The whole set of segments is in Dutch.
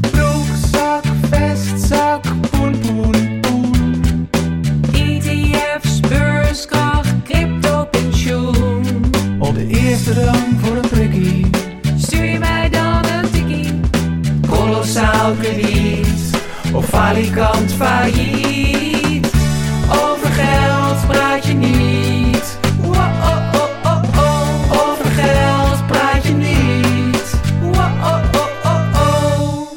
Droge zakken, vestzakken, poen, poen, poen. E ETF's, beurskracht, crypto, pensioen. Op de eerste rang voor een prikkie. Stuur je mij dan een tikkie. Kolossaal krediet. Of falikant failliet. Over geld praat je niet. Wa-oh-oh-oh-oh. Over geld praat je niet. Wa-oh-oh-oh-oh.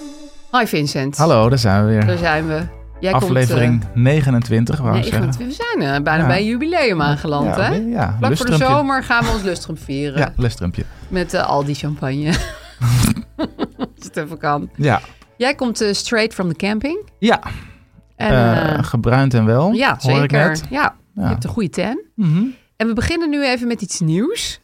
Hi Vincent. Hallo, daar zijn we weer. Daar zijn we. Jij eh, Aflevering 29, wou Komt, ik eh, zeggen. 29. we zijn eh, bijna Ja. bij een jubileum aangeland, Ja, hè? ja, Vlak voor de lustrumpje. zomer gaan we ons lustrum vieren. Ja, lustrumpje. Met eh, al die champagne. Als het even kan. Ja, Jij komt eh, straight from the camping. ja. En, eh, eh, gebruind en wel, ja, hoor ik zeker. net. Ja, je Ja. hebt een goede tent. Mhm. En we beginnen nu even met iets nieuws.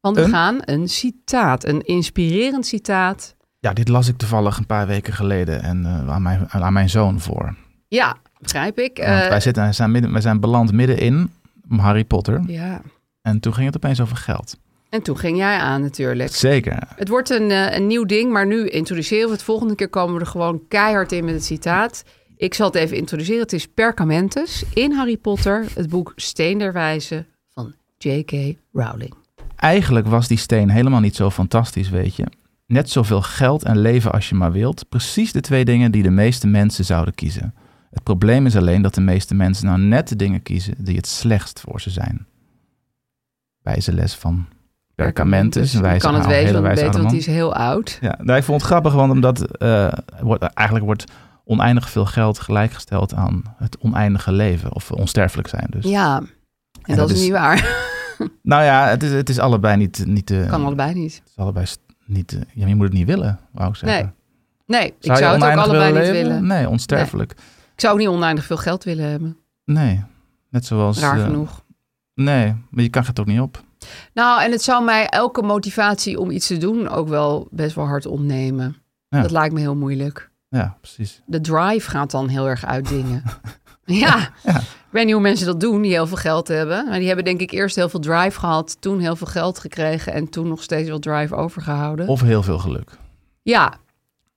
Want we Een? gaan een citaat, een inspirerend citaat. Ja, dit las ik toevallig een paar weken geleden en, eh, aan, mijn, aan mijn zoon voor. Ja, begrijp ik. Want Eh, wij, zitten, wij zijn midden, wij zijn beland middenin Harry Potter ja. en toen ging het opeens over geld. En toen ging jij aan natuurlijk. Zeker. Het wordt een, eh, een nieuw ding, maar nu introduceren we het. Volgende keer komen we er gewoon keihard in met het citaat. Ik zal het even introduceren. Het is Perkamentus in Harry Potter, het boek Steen der Wijze van J.K. Rowling. Eigenlijk was die steen helemaal niet zo fantastisch, weet je. Net zoveel geld en leven als je maar wilt. Precies de twee dingen die de meeste mensen zouden kiezen. Het probleem is alleen dat de meeste mensen nou net de dingen kiezen die het slechtst voor ze zijn. Wijze les van Perkamentus. Ik wijze kan het oude- wezen, hele want, wijze weet, oude want die man. is heel oud. Ja, nou, ik vond het grappig, want omdat eh, wordt, eigenlijk wordt oneindig veel geld gelijkgesteld aan het oneindige leven of onsterfelijk zijn. Dus. Ja, en, dat, dat is is- niet waar. Nou ja, het is, het is allebei niet, niet eh, de, kan allebei niet. het is allebei st- niet. eh, Ja, je moet het niet willen, wou ik zeggen. Nee, Nee, ik zou het ook oneindig allebei niet leven? willen. Nee, onsterfelijk. Ik zou ook niet oneindig veel geld willen hebben. Nee. Net zoals. Raar eh, genoeg. Nee, maar je kan het ook niet op. Nou, en het zou mij elke motivatie om iets te doen ook wel best wel hard ontnemen. Ja. Dat lijkt me heel moeilijk. Ja, precies. De drive gaat dan heel erg uit dingen. ja. ik weet niet hoe mensen dat doen die heel veel geld hebben. Maar die hebben denk ik eerst heel veel drive gehad, toen heel veel geld gekregen en toen nog steeds wel drive overgehouden. Of heel veel geluk. Ja,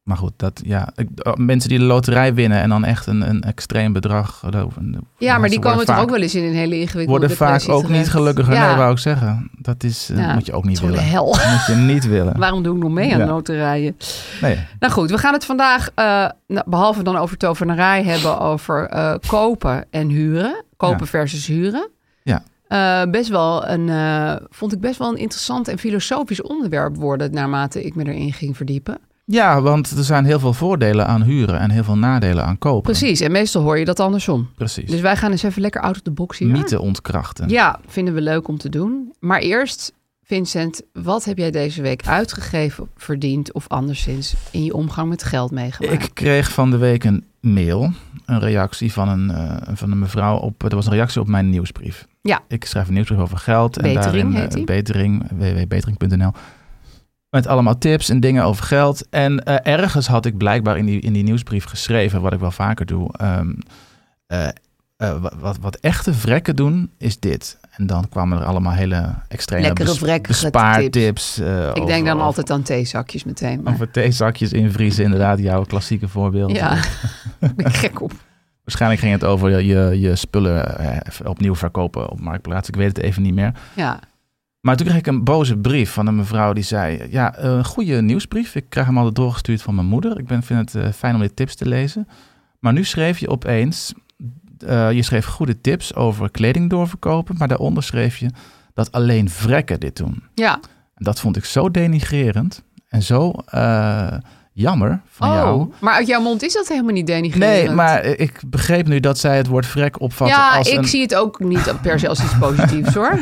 Maar goed, dat, ja, ik- oh, mensen die de loterij winnen en dan echt een, een extreem bedrag. eh, daar- ja maar die worden komen toch vaak- ook wel eens in een hele ingewikkelde Worden vaak depressie ook niet terecht. gelukkiger, Ja. nee, wou ik zeggen. Dat is, eh, Ja, moet je ook niet Zo'n willen. hel. Moet je niet willen. Waarom doe ik nog mee aan Ja. loterijen? Nee, Nou goed, we gaan het vandaag, eh, nou, behalve dan over tovenarij, hebben over eh, kopen en huren. Kopen Ja. versus huren. Ja. Eh, best wel een, eh, vond ik best wel een interessant en filosofisch onderwerp worden naarmate ik me erin ging verdiepen. ja, want er zijn heel veel voordelen aan huren en heel veel nadelen aan kopen. Precies, en meestal hoor je dat andersom. Precies. Dus wij gaan eens even lekker out of the box hier. Mythen ontkrachten. Ja, vinden we leuk om te doen. Maar eerst, Vincent, wat heb jij deze week uitgegeven, verdiend of anderszins in je omgang met geld meegemaakt? Ik kreeg van de week een mail, een reactie van een, eh, van een mevrouw op. Er was een reactie op mijn nieuwsbrief. Ja. Ik schrijf een nieuwsbrief over geld. Betering en daarin, heet eh, die. Betering, www.betering.nl. Met allemaal tips en dingen over geld. En eh, ergens had ik blijkbaar in die, in die nieuwsbrief geschreven, wat ik wel vaker doe. ehm, eh, eh, wat, wat, wat echte vrekken doen, is dit. En dan kwamen er allemaal hele extreme Lekkere bes- vrekkige bespaartips. eh, Ik over- denk dan over- altijd aan theezakjes meteen. Maar... Over theezakjes invriezen, inderdaad. Jouw klassieke voorbeeld. Ja, daar ben ik gek op. Waarschijnlijk ging het over je, je, je spullen eh, opnieuw verkopen op Marktplaats. Ik weet het even niet meer. Ja. Maar toen kreeg ik een boze brief van een mevrouw die zei... Ja, eh, een goede nieuwsbrief. Ik krijg hem altijd doorgestuurd van mijn moeder. Ik ben, vind het eh, fijn om dit tips te lezen. Maar nu schreef je opeens... eh, je schreef goede tips over kleding doorverkopen. Maar daaronder schreef je dat alleen vrekken dit doen. Ja, En dat vond ik zo denigrerend en zo eh, jammer van oh, jou. maar uit jouw mond is dat helemaal niet denigrerend. Nee, maar ik begreep nu dat zij het woord vrek opvatten Ja, als ik een... zie het ook niet per se als iets positiefs hoor.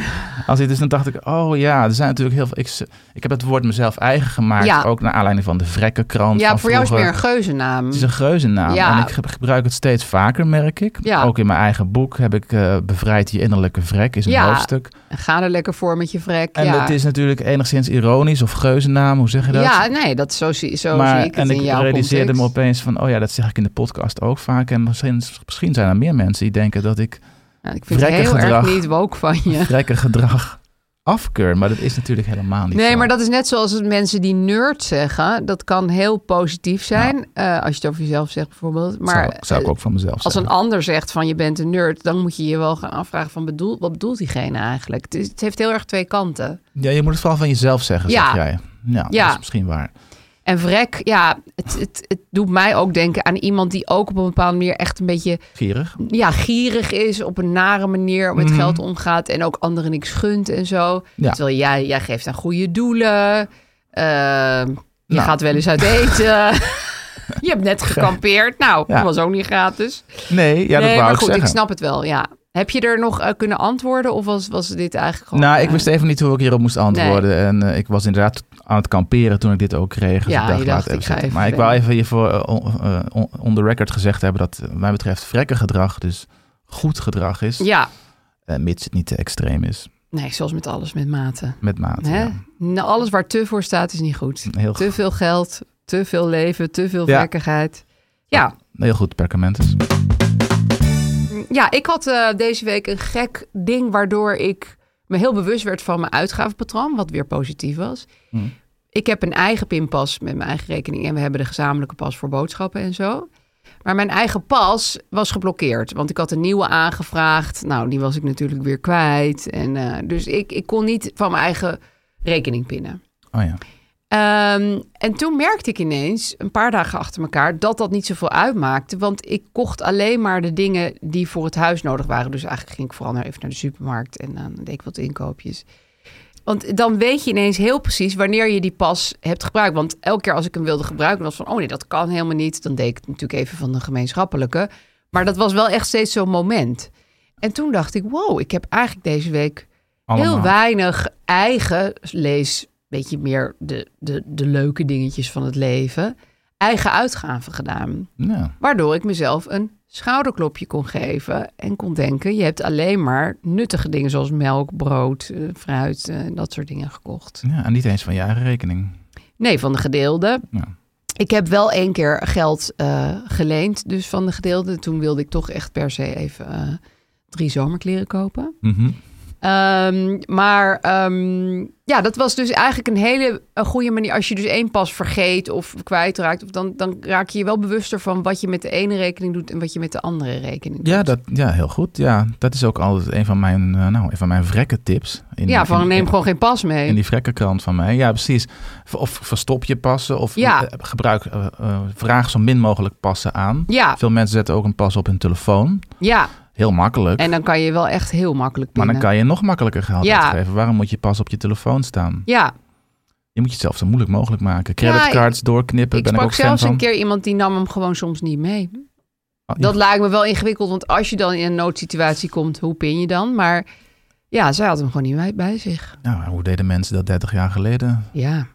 Als dit is, dan dacht ik, oh ja, er zijn natuurlijk heel veel... Ik, ik heb het woord mezelf eigen gemaakt, Ja. ook naar aanleiding van de vrekkenkrant Ja, van voor jou is het meer vroeger. een geuzennaam. Het is een geuzennaam Ja. en ik ge- gebruik het steeds vaker, merk ik. Ja. Ook in mijn eigen boek heb ik eh, Bevrijd je innerlijke vrek, is een Ja. hoofdstuk. Ga er lekker voor met je vrek. En ja. het is natuurlijk enigszins ironisch of geuzennaam, hoe zeg je dat? Ja, nee, dat, zo, zie, zo zie ik het en in ik jouw realiseerde me context. opeens van, oh ja, dat zeg ik in de podcast ook vaak. En misschien, misschien zijn er meer mensen die denken dat ik Ja, ik vind het heel Vrekkengedrag. erg niet woke van je. vrekken gedrag afkeur. Maar dat is natuurlijk helemaal niet Nee, zo. maar dat is net zoals het mensen die nerd zeggen. Dat kan heel positief zijn. eh, als je het over jezelf zegt bijvoorbeeld. Maar zou, zou ik ook van mezelf eh, als een zeggen. ander zegt van je bent een nerd, dan moet je je wel gaan afvragen van bedoel, wat bedoelt diegene eigenlijk? Het, is- het heeft heel erg twee kanten. Ja, je moet het vooral van jezelf zeggen, Ja. zeg jij. Ja, Ja. dat is misschien waar. En vrek, ja, het, het, het doet mij ook denken aan iemand die ook op een bepaalde manier echt een beetje Gierig. ja, gierig is, op een nare manier met geld omgaat en ook anderen niks gunt en zo. Mhm. Ja. Terwijl jij, jij geeft aan goede doelen. eh, je Nou. gaat wel eens uit eten. je hebt net gekampeerd. Nou, Ja. dat was ook niet gratis. Nee, ja, dat nee, wou maar ik goed, zeggen. ik snap het wel, ja. Heb je er nog eh, kunnen antwoorden of was, was dit eigenlijk gewoon... Nou, ik eh, wist even niet hoe ik hierop moest antwoorden. En eh, ik was inderdaad aan het kamperen toen ik dit ook kreeg. Dus Ja, ik dacht, je laat dacht, even ik ga zitten. even maar ik wou bellen. even hiervoor eh, on, eh, on- on the record gezegd hebben dat eh, wat mij betreft vrekken gedrag dus goed gedrag is. Ja, Eh, mits het niet te extreem is. nee, zoals met alles, met maten. Met maat. Hè? Ja. Nou, alles waar te voor staat is niet goed. Heel, Te veel geld, te veel leven, te veel Ja. vrekkigheid. ja. heel goed perkamentus. Ja, ik had eh, deze week een gek ding waardoor ik me heel bewust werd van mijn uitgavenpatroon, wat weer positief was. Ik heb een eigen pinpas met mijn eigen rekening en we hebben de gezamenlijke pas voor boodschappen en zo. Maar mijn eigen pas was geblokkeerd, want ik had een nieuwe aangevraagd. Nou, die was ik natuurlijk weer kwijt. En, eh, dus ik, ik kon niet van mijn eigen rekening pinnen. Oh ja. Ehm, en toen merkte ik ineens, een paar dagen achter elkaar, dat dat niet zoveel uitmaakte. Want ik kocht alleen maar de dingen die voor het huis nodig waren. Dus eigenlijk ging ik vooral naar, even naar de supermarkt en dan deed ik wat inkoopjes. Want dan weet je ineens heel precies wanneer je die pas hebt gebruikt. Want elke keer als ik hem wilde gebruiken, was van, oh nee, dat kan helemaal niet. Dan deed ik het natuurlijk even van de gemeenschappelijke. Maar dat was wel echt steeds zo'n moment. En toen dacht ik, wow, ik heb eigenlijk deze week Allemaal. heel weinig eigen lees, beetje meer de, de, de leuke dingetjes van het leven, eigen uitgaven gedaan. Ja. Waardoor ik mezelf een schouderklopje kon geven en kon denken, je hebt alleen maar nuttige dingen zoals melk, brood, eh, fruit eh, en dat soort dingen gekocht. ja, en niet eens van je eigen rekening. Nee, van de gedeelde. Ja. Ik heb wel één keer geld eh, geleend, dus van de gedeelde. Toen wilde ik toch echt per se even eh, drie zomerkleren kopen. Mhm. Ehm, maar ehm, ja, dat was dus eigenlijk een hele een goede manier. Als je dus één pas vergeet of kwijtraakt, of dan, dan raak je je wel bewuster van wat je met de ene rekening doet en wat je met de andere rekening doet. Ja, dat, ja, heel goed. Ja, dat is ook altijd een van mijn, eh, nou, een van mijn vrekke tips. In, ja, van in- neem in- gewoon geen pas mee. In die vrekkenkrant van mij. Ja, precies. V- Of verstop je passen. Of Ja. eh, gebruik, eh, eh, vraag zo min mogelijk passen aan. Ja, Veel mensen zetten ook een pas op hun telefoon. ja, Heel makkelijk. en dan kan je wel echt heel makkelijk maar pinnen. dan kan je nog makkelijker geld Ja. uitgeven. Waarom moet je pas op je telefoon staan? Ja, Je moet jezelf zo moeilijk mogelijk maken. Ja, Creditcards doorknippen, ik ben ik sprak ook fan zelfs van. een keer iemand die nam hem gewoon soms niet mee. Oh, ja. Dat lijkt me wel ingewikkeld, want als je dan in een noodsituatie komt, hoe pin je dan? Maar ja, zij had hem gewoon niet bij- bij zich. Nou, hoe deden mensen dat 30 jaar geleden? Ja,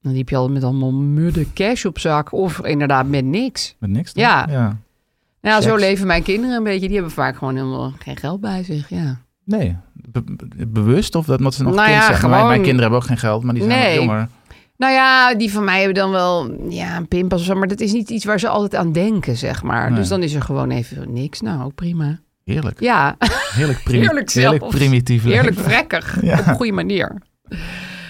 dan liep je al met allemaal mudde cash op zak. Of inderdaad met niks. Met niks? toch? Ja. ja. Nou, ja, zo Checks. leven mijn kinderen een beetje. Die hebben vaak gewoon helemaal geen geld bij zich. Ja. Nee. Be- be- bewust of dat omdat ze nog Nou kind ja, zijn? Mijn- Mijn, gewoon- kinderen hebben ook geen geld, maar die zijn Nee. wat jonger. Nou ja, die van mij hebben dan wel ja, een pinpas of zo. Maar dat is niet iets waar ze altijd aan denken, zeg maar. Nee. Dus dan is er gewoon even niks. Nou, ook prima. Heerlijk. Ja, Heerlijk, primi- Heerlijk zelfs. heerlijk primitief leven. heerlijk vrekkig. Ja. Op een goede manier.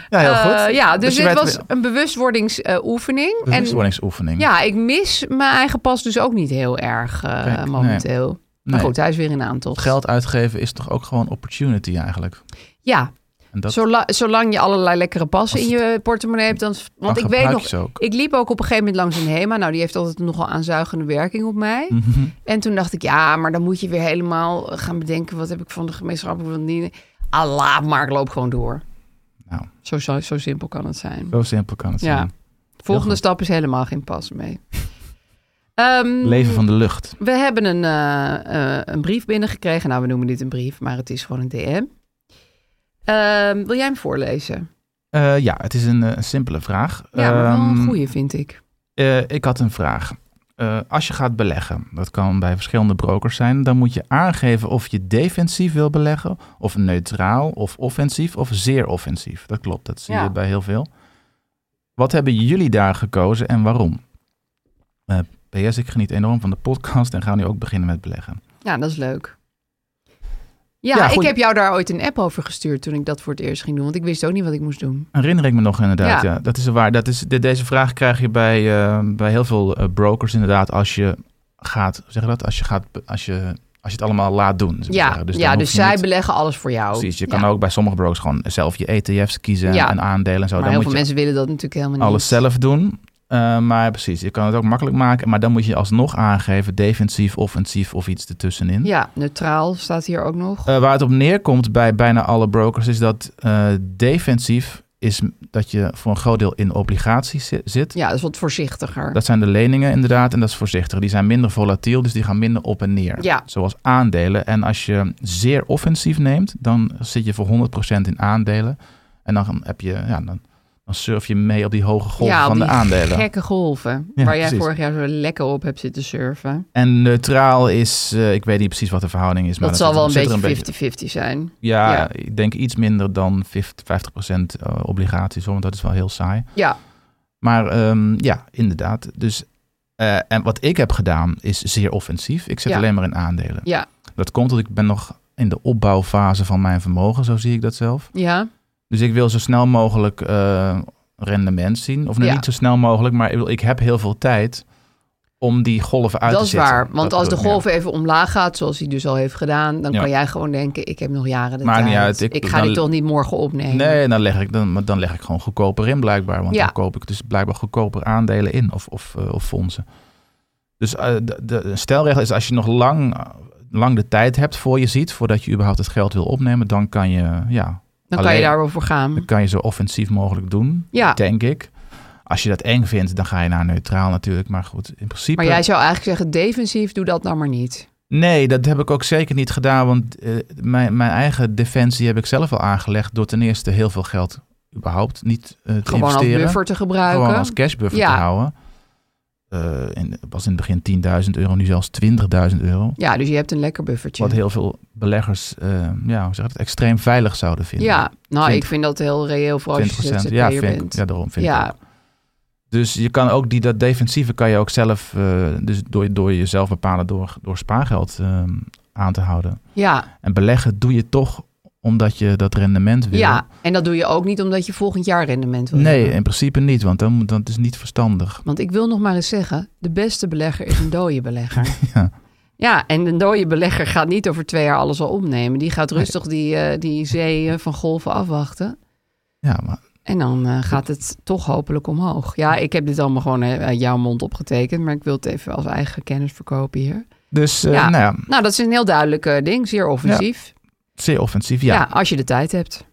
Ja, heel goed. Eh, ja, dus, je dit werd was weer- een bewustwordingsoefening. en bewustwordingsoefening. ja, ik mis mijn eigen pas dus ook niet heel erg eh, Kijk, nee. momenteel. Maar Nee. goed, hij is weer in aantocht. Geld uitgeven is toch ook gewoon opportunity eigenlijk. Ja. En dat Zola- zolang je allerlei lekkere passen Als in je portemonnee hebt. Dan, want dan ik weet gebruik nog, je ze ook. ik liep ook op een gegeven moment langs een HEMA. Nou, die heeft altijd nogal aanzuigende werking op mij. Hm. Mhm. En toen dacht ik, ja, maar dan moet je weer helemaal eh, gaan bedenken... wat heb ik van de gemeenschappelijke verdienen. Allah, maar ik loop gewoon door. Nou. Zo, zo, zo simpel kan het zijn. Zo simpel kan het Ja. zijn. Volgende goed. stap is helemaal geen pas mee. Ehm, Leven van de lucht. we hebben een, eh, eh, een brief binnengekregen. Nou, we noemen dit een brief, maar het is gewoon een DM. Ehm, wil jij hem voorlezen? Eh, ja, het is een, eh, een simpele vraag. Ja, maar wel een Ehm, goeie, vind ik. Eh, ik had een vraag. Eh, als je gaat beleggen, dat kan bij verschillende brokers zijn, dan moet je aangeven of je defensief wil beleggen, of neutraal, of offensief, of zeer offensief. Dat klopt, dat zie Ja. je bij heel veel. Wat hebben jullie daar gekozen en waarom? Eh, PS, ik geniet enorm van de podcast en ga nu ook beginnen met beleggen. Ja, dat is leuk. Ja, Ja, ik goeie- heb jou daar ooit een app over gestuurd toen ik dat voor het eerst ging doen. Want ik wist ook niet wat ik moest doen. Herinner ik me nog inderdaad, Ja. ja. Dat is waar. Dat is, de- deze vraag krijg je bij, eh, bij heel veel eh, brokers inderdaad als je gaat, hoe zeg je dat? Als je, gaat, be- als je, als je het allemaal laat doen. zou ik ja, zeggen. dus, dan ja, hoef dus je zij niet- beleggen alles voor jou. Precies, je Ja. kan ook bij sommige brokers gewoon zelf je ETF's kiezen Ja. en aandelen en zo. Maar dan heel moet veel je mensen willen dat natuurlijk helemaal niet. alles zelf doen. Eh, maar precies, je kan het ook makkelijk maken. Maar dan moet je alsnog aangeven defensief, offensief of iets ertussenin. Ja, neutraal staat hier ook nog. Eh, waar het op neerkomt bij bijna alle brokers is dat eh, defensief is m- dat je voor een groot deel in obligaties zi- zit. ja, dat is wat voorzichtiger. Dat zijn de leningen inderdaad en dat is voorzichtig. Die zijn minder volatiel, dus die gaan minder op en neer. Ja. Zoals aandelen. En als je zeer offensief neemt, dan zit je voor 100% in aandelen. En dan heb je, ja, dan, dan surf je mee op die hoge golven ja, van die de aandelen. gekke golven. waar Ja, jij precies. Nou, vorig jaar zo lekker op hebt zitten surfen. En neutraal is, eh, ik weet niet precies wat de verhouding is. Maar Dat, zal zit- wel een zit er beetje 50-50 zijn. Ja, Ja. ik denk iets minder dan 50, 50% eh, obligaties, hoor, want dat is wel heel saai. Ja, Maar ehm, ja, inderdaad. Dus, eh, en wat ik heb gedaan is zeer offensief. Ik zit Ja. alleen maar in aandelen. ja, Dat komt omdat ik ben nog in de opbouwfase van mijn vermogen, zo zie ik dat zelf. ja. Dus ik wil zo snel mogelijk eh, rendement zien. Of nou, Ja. niet zo snel mogelijk, maar ik, wil- ik heb heel veel tijd om die golven uit dat te is zetten. waar. Want Dat als de bedoel ik, ja. golf even omlaag gaat, zoals hij dus al heeft gedaan, dan Ja. kan jij gewoon denken: ik heb nog jaren de Maakt tijd. niet uit, ik- Ik, ga die dan- toch niet morgen opnemen. Nee, dan leg, ik, dan, maar dan leg ik gewoon goedkoper in blijkbaar. Want Ja. dan koop ik dus blijkbaar goedkoper aandelen in of, of, eh, of fondsen. Dus eh, de, de de stelregel is als je nog lang, lang de tijd hebt voor je ziet... voordat je überhaupt het geld wil opnemen... dan kan je, ja, Dan kan Alleen- je daar wel voor gaan. dan kan je zo offensief mogelijk doen, Ja. denk ik. Als je dat eng vindt, dan ga je naar neutraal natuurlijk. Maar goed, in principe... Maar jij zou eigenlijk zeggen, defensief, doe dat nou maar niet. Nee, dat heb ik ook zeker niet gedaan. Want eh, mijn, mijn eigen defensie heb ik zelf al aangelegd... door ten eerste heel veel geld überhaupt niet eh, te Gewoon als investeren. buffer te gebruiken. Gewoon als cashbuffer Ja. te houden. Eh, in, was in het begin 10.000 euro, nu zelfs 20.000 euro. Ja, dus je hebt een lekker buffertje. Wat heel veel beleggers eh, ja, hoe zeg je dat, extreem veilig zouden vinden. ja, nou, ik Twintig- vind dat heel reëel voor als je 20%. ZZP'er Ja, vind ik, bent. ja, daarom vind Ja. ik ook. Dus je kan ook die, dat defensieve kan je ook zelf, eh, dus door, door jezelf bepalen door, door spaargeld eh, aan te houden. Ja, En beleggen doe je toch omdat je dat rendement wil. ja, en dat doe je ook niet omdat je volgend jaar rendement wil Nee, hebben. in principe niet, want dan, moet- dat is niet verstandig. Want ik wil nog maar eens zeggen, de beste belegger is een dode belegger. Ja. Ja, en een dode belegger gaat niet over twee jaar alles al opnemen. Die gaat rustig die, eh, die zee eh, van golven afwachten. Ja, maar En dan eh, gaat het toch hopelijk omhoog. Ja, ik heb dit allemaal gewoon eh, uit jouw mond opgetekend. Maar ik wil het even als eigen kennis verkopen hier. dus eh, Ja. nou ja, Nou, dat is een heel duidelijk eh, ding. Zeer offensief. zeer offensief. Ja. ja, als je de tijd hebt.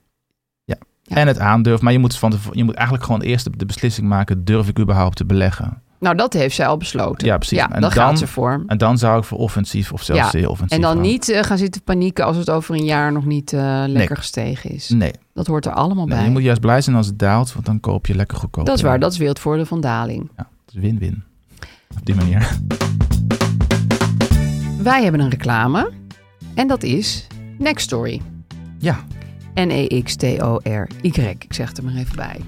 Ja. En het aandurft. Maar je moet, van tevo- je moet eigenlijk gewoon eerst de- de beslissing maken: durf ik überhaupt te beleggen? Nou, dat heeft zij al besloten. Ja, precies. Ja, En daar gaat dan- ze voor. En dan zou ik voor offensief of zelfs Ja, zeer offensief. En dan gaan. niet eh, gaan zitten panieken als het over een jaar nog niet eh, lekker gestegen is. Nee, Dat hoort er allemaal nee, bij. je Nou, moet juist blij zijn als het daalt, want dan koop je lekker goedkoop. Dat is in. waar, dat is weer het voordeel van daling. Ja, het is win-win. Op die manier. Wij hebben een reclame. En dat is E Next Story. Ja, N-E-X-T-O-R-Y. Ik zeg het er maar even bij.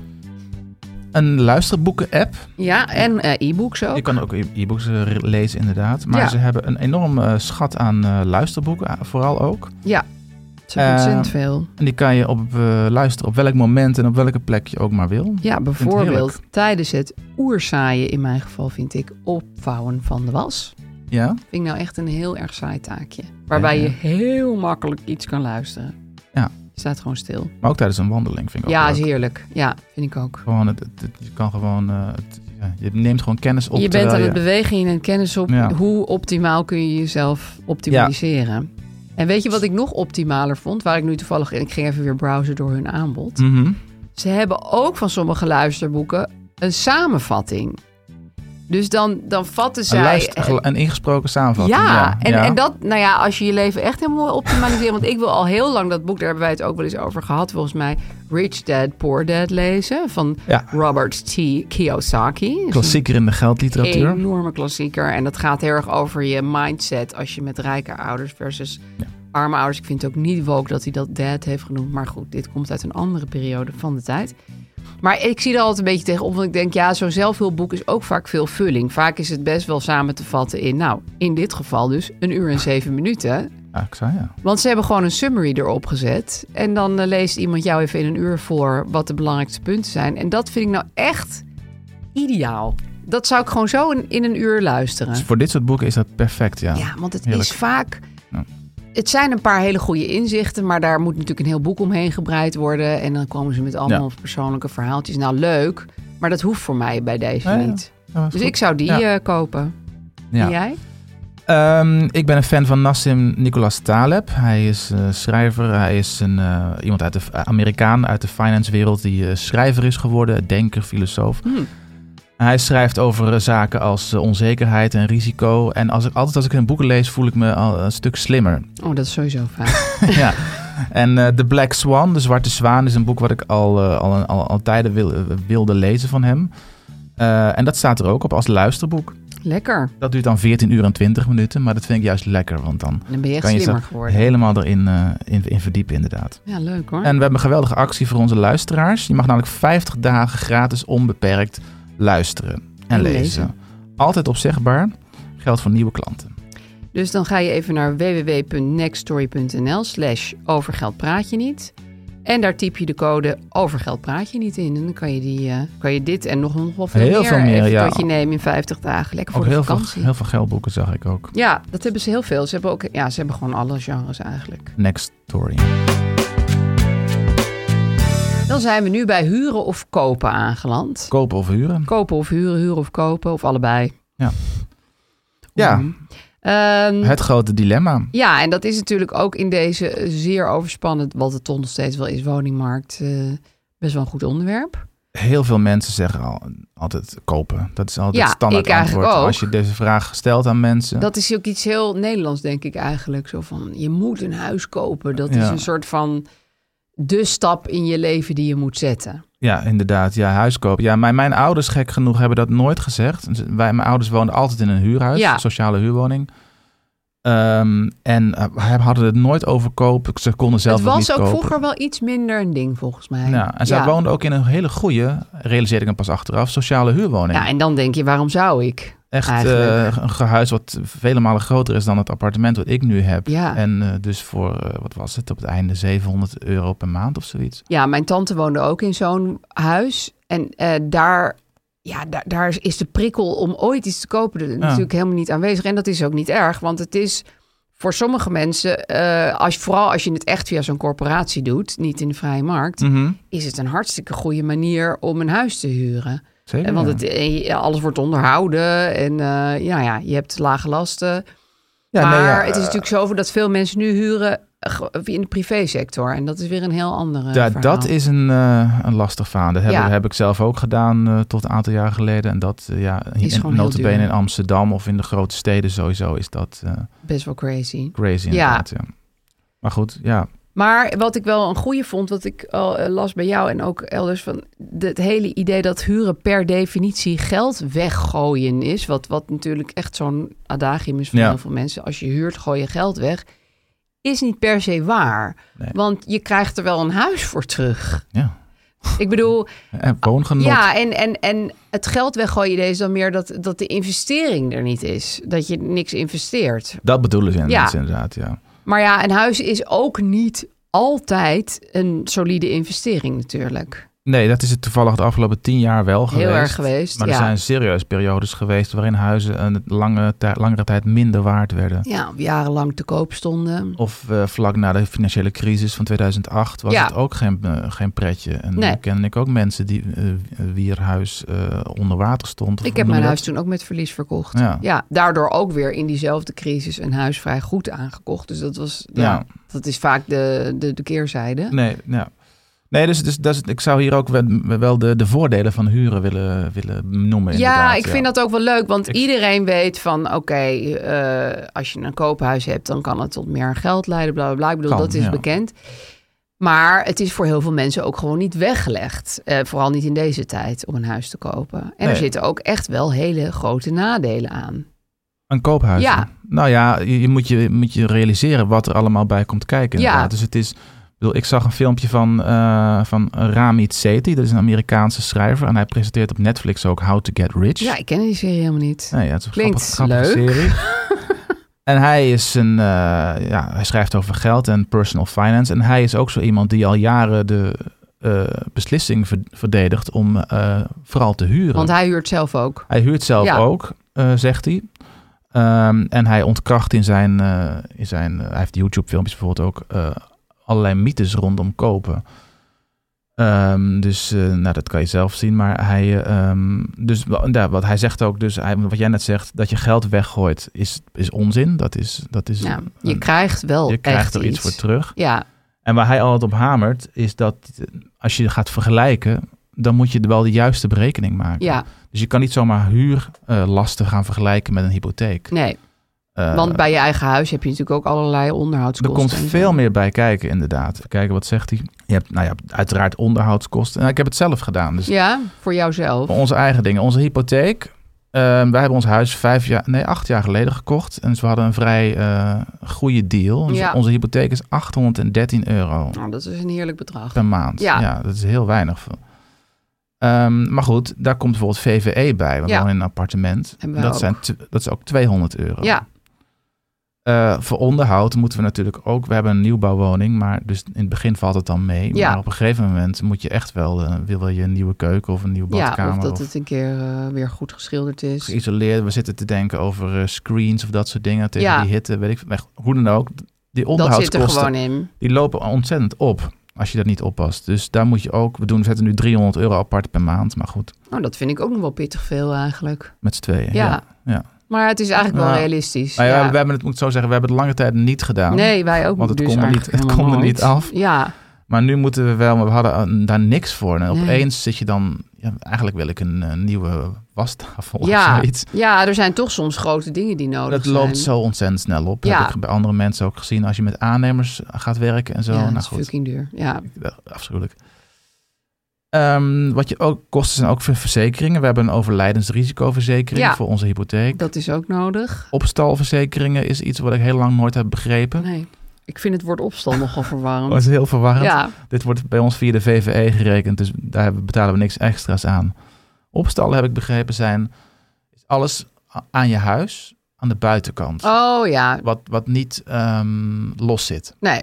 een luisterboeken-app. Ja, en eh, e-books ook. Je kan ook e- e-books eh, re- lezen, inderdaad. Maar Ja. ze hebben een enorm eh, schat aan eh, luisterboeken, eh, vooral ook. Ja, ze hebben Eh, ontzettend veel. En die kan je op, eh, luisteren op welk moment en op welke plek je ook maar wil. Ja, het bijvoorbeeld heerlijk. tijdens het oerzaaien, in mijn geval vind ik, opvouwen van de was. Ja, Vind ik nou echt een heel erg saai taakje. Waarbij Ja, ja. je heel makkelijk iets kan luisteren. ja. Staat gewoon stil. Maar ook tijdens een wandeling vind ik ook ja, leuk. is heerlijk. Ja, vind ik ook. Gewoon het, het- het- je kan gewoon, eh, het- ja, je neemt gewoon kennis op. je bent terwijl aan het bewegen en kennis op Ja. hoe optimaal kun je jezelf optimaliseren. En weet je wat ik nog optimaler vond? Waar ik nu toevallig in, ik ging even weer browsen door hun aanbod. Mhm. Ze hebben ook van sommige luisterboeken een samenvatting. Dus dan, dan vatten zij. een, luister- gel- een ingesproken samenvatting. eh, ja, Ja, en, ja. en dat, nou ja, als je je leven echt helemaal wil optimaliseren. want ik wil al heel lang dat boek, daar hebben wij het ook wel eens over gehad, volgens mij. Rich Dad, Poor Dad lezen van Ja. Robert T. Kiyosaki. Dat is een Klassieker in de geldliteratuur. enorme klassieker. En dat gaat heel erg over je mindset als je met rijke ouders versus arme ouders. Ik vind het ook niet woke dat hij dat dad heeft genoemd. Maar goed, dit komt uit een andere periode van de tijd. Maar ik zie er altijd een beetje tegenop, want ik denk, ja, zo'n zelfhulpboek is ook vaak veel vulling. Vaak is het best wel samen te vatten in, nou, in dit geval dus een uur en zeven minuten. Ja, ik zei ja. Want ze hebben gewoon een summary erop gezet. En dan eh, leest iemand jou even in een uur voor wat de belangrijkste punten zijn. En dat vind ik nou echt ideaal. Dat zou ik gewoon zo in, in een uur luisteren. Dus voor dit soort boeken is dat perfect, ja. Ja, want het Heerlijk. is vaak. Ja. Het zijn een paar hele goede inzichten, maar daar moet natuurlijk een heel boek omheen gebreid worden. En dan komen ze met allemaal persoonlijke verhaaltjes. Nou, leuk, maar dat hoeft voor mij bij deze Ja, ja. niet. Ja, Dus goed. ik zou die Ja. eh, kopen. Ja. En jij? Ehm, ik ben een fan van Nassim Nicolas Taleb. Hij is eh, schrijver. Hij is een, eh, iemand uit de Amerikaan uit de finance-wereld die eh, schrijver is geworden, denker, filosoof. Hmm. Hij schrijft over eh, zaken als eh, onzekerheid en risico. En als ik, altijd als ik hun boeken lees, voel ik me al een stuk slimmer. Oh, dat is sowieso fijn. ja. En eh, The Black Swan, De Zwarte Zwaan, is een boek wat ik al, eh, al, al, al tijden wil- eh, wilde lezen van hem. Eh, en dat staat er ook op als luisterboek. Lekker. Dat duurt dan 14 uur en 20 minuten, maar dat vind ik juist lekker, want dan Dan ben je echt Kan je slimmer zo- geworden. helemaal erin eh, in, in verdiepen inderdaad. Ja, leuk hoor. En we hebben een geweldige actie voor onze luisteraars. Je mag namelijk 50 dagen gratis onbeperkt luisteren en, En lezen. lezen. Altijd opzegbaar, geldt voor nieuwe klanten. Dus dan ga je even naar www.nextstory.nl slash overgeldpraatje niet. En daar typ je de code overgeldpraatje niet in. En dan kan je, die, eh, kan je dit en nog, nog wel veel Heel meer, veel meer, even ja. tot je nemen in 50 dagen. Lekker voor Ook de heel veel, vakantie. heel veel geldboeken zag ik ook. Ja, dat hebben ze heel veel. Ze hebben, ook, ja, ze hebben gewoon alle genres eigenlijk. Next story. Dan zijn we nu bij huren of kopen aangeland. Kopen of huren? Kopen of huren, huren of kopen, of allebei. Ja, Ehm, Mm. het grote dilemma. Ja, en dat is natuurlijk ook in deze eh, zeer overspannen, wat het toch nog steeds wel is, woningmarkt, eh, best wel een goed onderwerp. Heel veel mensen zeggen al, altijd kopen. Dat is altijd Ja, het standaard ik eigenlijk antwoord. ook. Als je deze vraag stelt aan mensen. Dat is ook iets heel Nederlands, denk ik eigenlijk. Zo van, je moet een huis kopen. Dat is Ja. een soort van de stap in je leven die je moet zetten. Ja, inderdaad. Ja, huis kopen. Ja, mijn, mijn ouders, gek genoeg, hebben dat nooit gezegd. Dus Wij, mijn ouders woonden altijd in een huurhuis, Ja. een sociale huurwoning. Ehm, en eh, we hadden het nooit over kopen. Ze konden zelf het was niet ook kopen. vroeger wel iets minder een ding, volgens mij. Ja, en zij ja. woonden ook in een hele goede, realiseerde ik hem pas achteraf, sociale huurwoning. Ja, en dan denk je, waarom zou ik? Echt eigenlijk. eh, een gehuis wat vele malen groter is dan het appartement wat ik nu heb. Ja. En eh, dus voor, eh, wat was het, op het einde 700 euro per maand of zoiets. Ja, mijn tante woonde ook in zo'n huis. En eh, daar, ja, daar, daar is- is de prikkel om ooit iets te kopen er natuurlijk helemaal niet aanwezig. En dat is ook niet erg, want het is voor sommige mensen, eh, als, vooral als je het echt via zo'n corporatie doet, niet in de vrije markt, is het een hartstikke goede manier om een huis te huren. Zeker. En Want ja. het, eh, ja, alles wordt onderhouden en eh, ja, ja, je hebt lage lasten. Ja, nee, maar ja, het is eh, natuurlijk zo dat veel mensen nu huren eh, ge- in de privésector. En dat is weer een heel andere Ja, verhaal. dat is een, eh, een lastig verhaal. Dat heb, Ja. heb ik zelf ook gedaan eh, tot een aantal jaar geleden. En dat, eh, ja, Is gewoon in, heel notabene duur. in Amsterdam of in de grote steden sowieso is dat eh, best wel crazy. crazy inderdaad. Ja. Maar goed, ja. Maar wat ik wel een goede vond, wat ik al eh, las bij jou en ook elders, van de- het hele idee dat huren per definitie geld weggooien is. Wat, wat natuurlijk echt zo'n adagium is van Ja. heel veel mensen. Als je huurt, gooi je geld weg. Is niet per se waar. Nee. Want je krijgt er wel een huis voor terug. ja. Ik bedoel, En woongenot. ja, en, en, en het geld weggooien deze dan meer dat, dat de investering er niet is. Dat je niks investeert. Dat bedoelen ze inderdaad, Ja. inderdaad ja. Maar ja, een huis is ook niet altijd een solide investering natuurlijk. Nee, dat is het toevallig de afgelopen tien jaar wel Heel geweest. erg geweest, Maar er ja. zijn serieus periodes geweest waarin huizen een lange tij- langere tijd minder waard werden. Ja, jarenlang te koop stonden. Of eh, vlak na de financiële crisis van 2008 was Ja. het ook geen, eh, geen pretje. En Nee. dan kende ik ook mensen die, eh, wier huis eh, onder water stond. Ik Of hoe heb noem mijn je huis dat? toen ook met verlies verkocht. Ja. daardoor ook weer in diezelfde crisis een huis vrij goed aangekocht. Dus dat was, ja, Ja. dat is vaak de, de, de keerzijde. Nee, ja. nee dus, dus, dat is- ik zou hier ook wel- wel de, de voordelen van huren willen, willen noemen. Ja, inderdaad, ik vind dat ook wel leuk, want Ik- iedereen weet van oké, eh, als je een koophuis hebt, dan kan het tot meer geld leiden, bla bla bla. Ik bedoel, Kan, dat is ja. bekend. Maar het is voor heel veel mensen ook gewoon niet weggelegd. Eh, vooral niet in deze tijd om een huis te kopen. En er Nee. zitten ook echt wel hele grote nadelen aan. Een koophuis. Ja. Nou ja, je, je moet je moet je realiseren wat er allemaal bij komt kijken. Ja. inderdaad. Dus het is. Ik bedoel, ik zag een filmpje van, eh, van Ramit Sethi. Dat is een Amerikaanse schrijver. En hij presenteert op Netflix ook How to Get Rich. Dus Ja, ik ken die serie helemaal niet. Nee, ja, het is een Klinkt grappige, grappige leuk. serie. en hij is een, eh, ja, hij schrijft over geld en personal finance. En hij is ook zo iemand die al jaren de eh, beslissing ver- verdedigt om eh, vooral te huren. Want hij huurt zelf ook. Hij huurt zelf Ja. ook, eh, zegt hij. Ehm, en hij ontkracht in zijn, eh, in zijn eh, hij heeft YouTube-filmpjes bijvoorbeeld ook, eh, allerlei mythes rondom kopen. Ehm, dus eh, nou, dat kan je zelf zien. Maar hij, eh, ehm, dus, wa- ja, wat hij zegt ook, dus hij, wat jij net zegt, dat je geld weggooit, is, is onzin. Dat is, dat is Ja, Dus een- je krijgt wel je echt krijgt er iets voor terug. Ja, En waar hij altijd op hamert, is dat eh, als je gaat vergelijken, dan moet je wel de juiste berekening maken. ja, Dus je kan niet zomaar huurlasten gaan vergelijken met een hypotheek. nee. Eh, Want bij je eigen huis heb je natuurlijk ook allerlei er onderhoudskosten. komt en zo. veel meer bij kijken, inderdaad. Even kijken, wat zegt hij? Je hebt, nou ja, uiteraard onderhoudskosten. Nou, ik heb het zelf gedaan. Dus Ja, voor jouzelf. voor onze eigen dingen. Onze hypotheek. eh, wij hebben ons huis vijf jaar, nee, acht jaar geleden gekocht. En dus we hadden een vrij eh, goede deal. Dus Ja. Onze hypotheek is 813 euro. Nou, dat is een heerlijk bedrag. per maand. Ja. Ja, dat is heel weinig. Ehm, maar goed, daar komt bijvoorbeeld VVE bij. Want Ja. dan in een appartement. Hebben wij Dat, ook. zijn tw- dat is ook 200 euro. Ja, Eh, voor onderhoud moeten we natuurlijk ook. We hebben een nieuwbouwwoning, maar dus in het begin valt het dan mee. Ja. Maar op een gegeven moment moet je echt wel. eh, wil je een nieuwe keuken of een nieuwe ja, badkamer? of dat of het een keer eh, weer goed geschilderd is. geïsoleerd. We zitten te denken over eh, screens of dat soort dingen tegen Ja. die hitte. Weet ik, veel. Maar goed, hoe dan ook. Die Dat zit onderhoudskosten er gewoon in. die lopen ontzettend op als je dat niet oppast. Dus daar moet je ook. We doen, we zetten nu 300 euro apart per maand. Maar goed, Nou, dat vind ik ook nog wel pittig veel eigenlijk. met z'n tweeën. Ja. ja. Maar het is eigenlijk wel Ja. realistisch. Nou ja, ja. We hebben het, moet ik zo zeggen, we hebben het lange tijd niet gedaan. nee, wij ook Want het dus kon er niet- eigenlijk het helemaal kon er nooit. niet af. Ja, Maar nu moeten we wel, maar we hadden eh, daar niks voor. En Nee. opeens zit je dan, ja, eigenlijk wil ik een eh, nieuwe wastafel of ja. Oh, zoiets. ja, er zijn toch soms grote dingen die nodig Dat zijn. loopt zo ontzettend snel op. Ja. Dat heb ik bij andere mensen ook gezien. Als je met aannemers eh, gaat werken en zo. Ja, dat nou is goed. fucking duur. Ja, Ja, afschuwelijk. Ehm, wat je ook kosten zijn ook ver- verzekeringen. We hebben een overlijdensrisicoverzekering Ja. voor onze hypotheek. dat is ook nodig. Opstalverzekeringen is iets wat ik heel lang nooit heb begrepen. Nee, ik vind het woord opstand nogal Dat verwarrend. is heel verwarrend. Ja, Dit wordt bij ons via de VVE gerekend, dus daar hebben- betalen we niks extra's aan. Opstallen, heb ik begrepen, zijn is alles a- aan je huis, aan de buitenkant. oh ja, Wat, wat niet ehm, los zit. nee.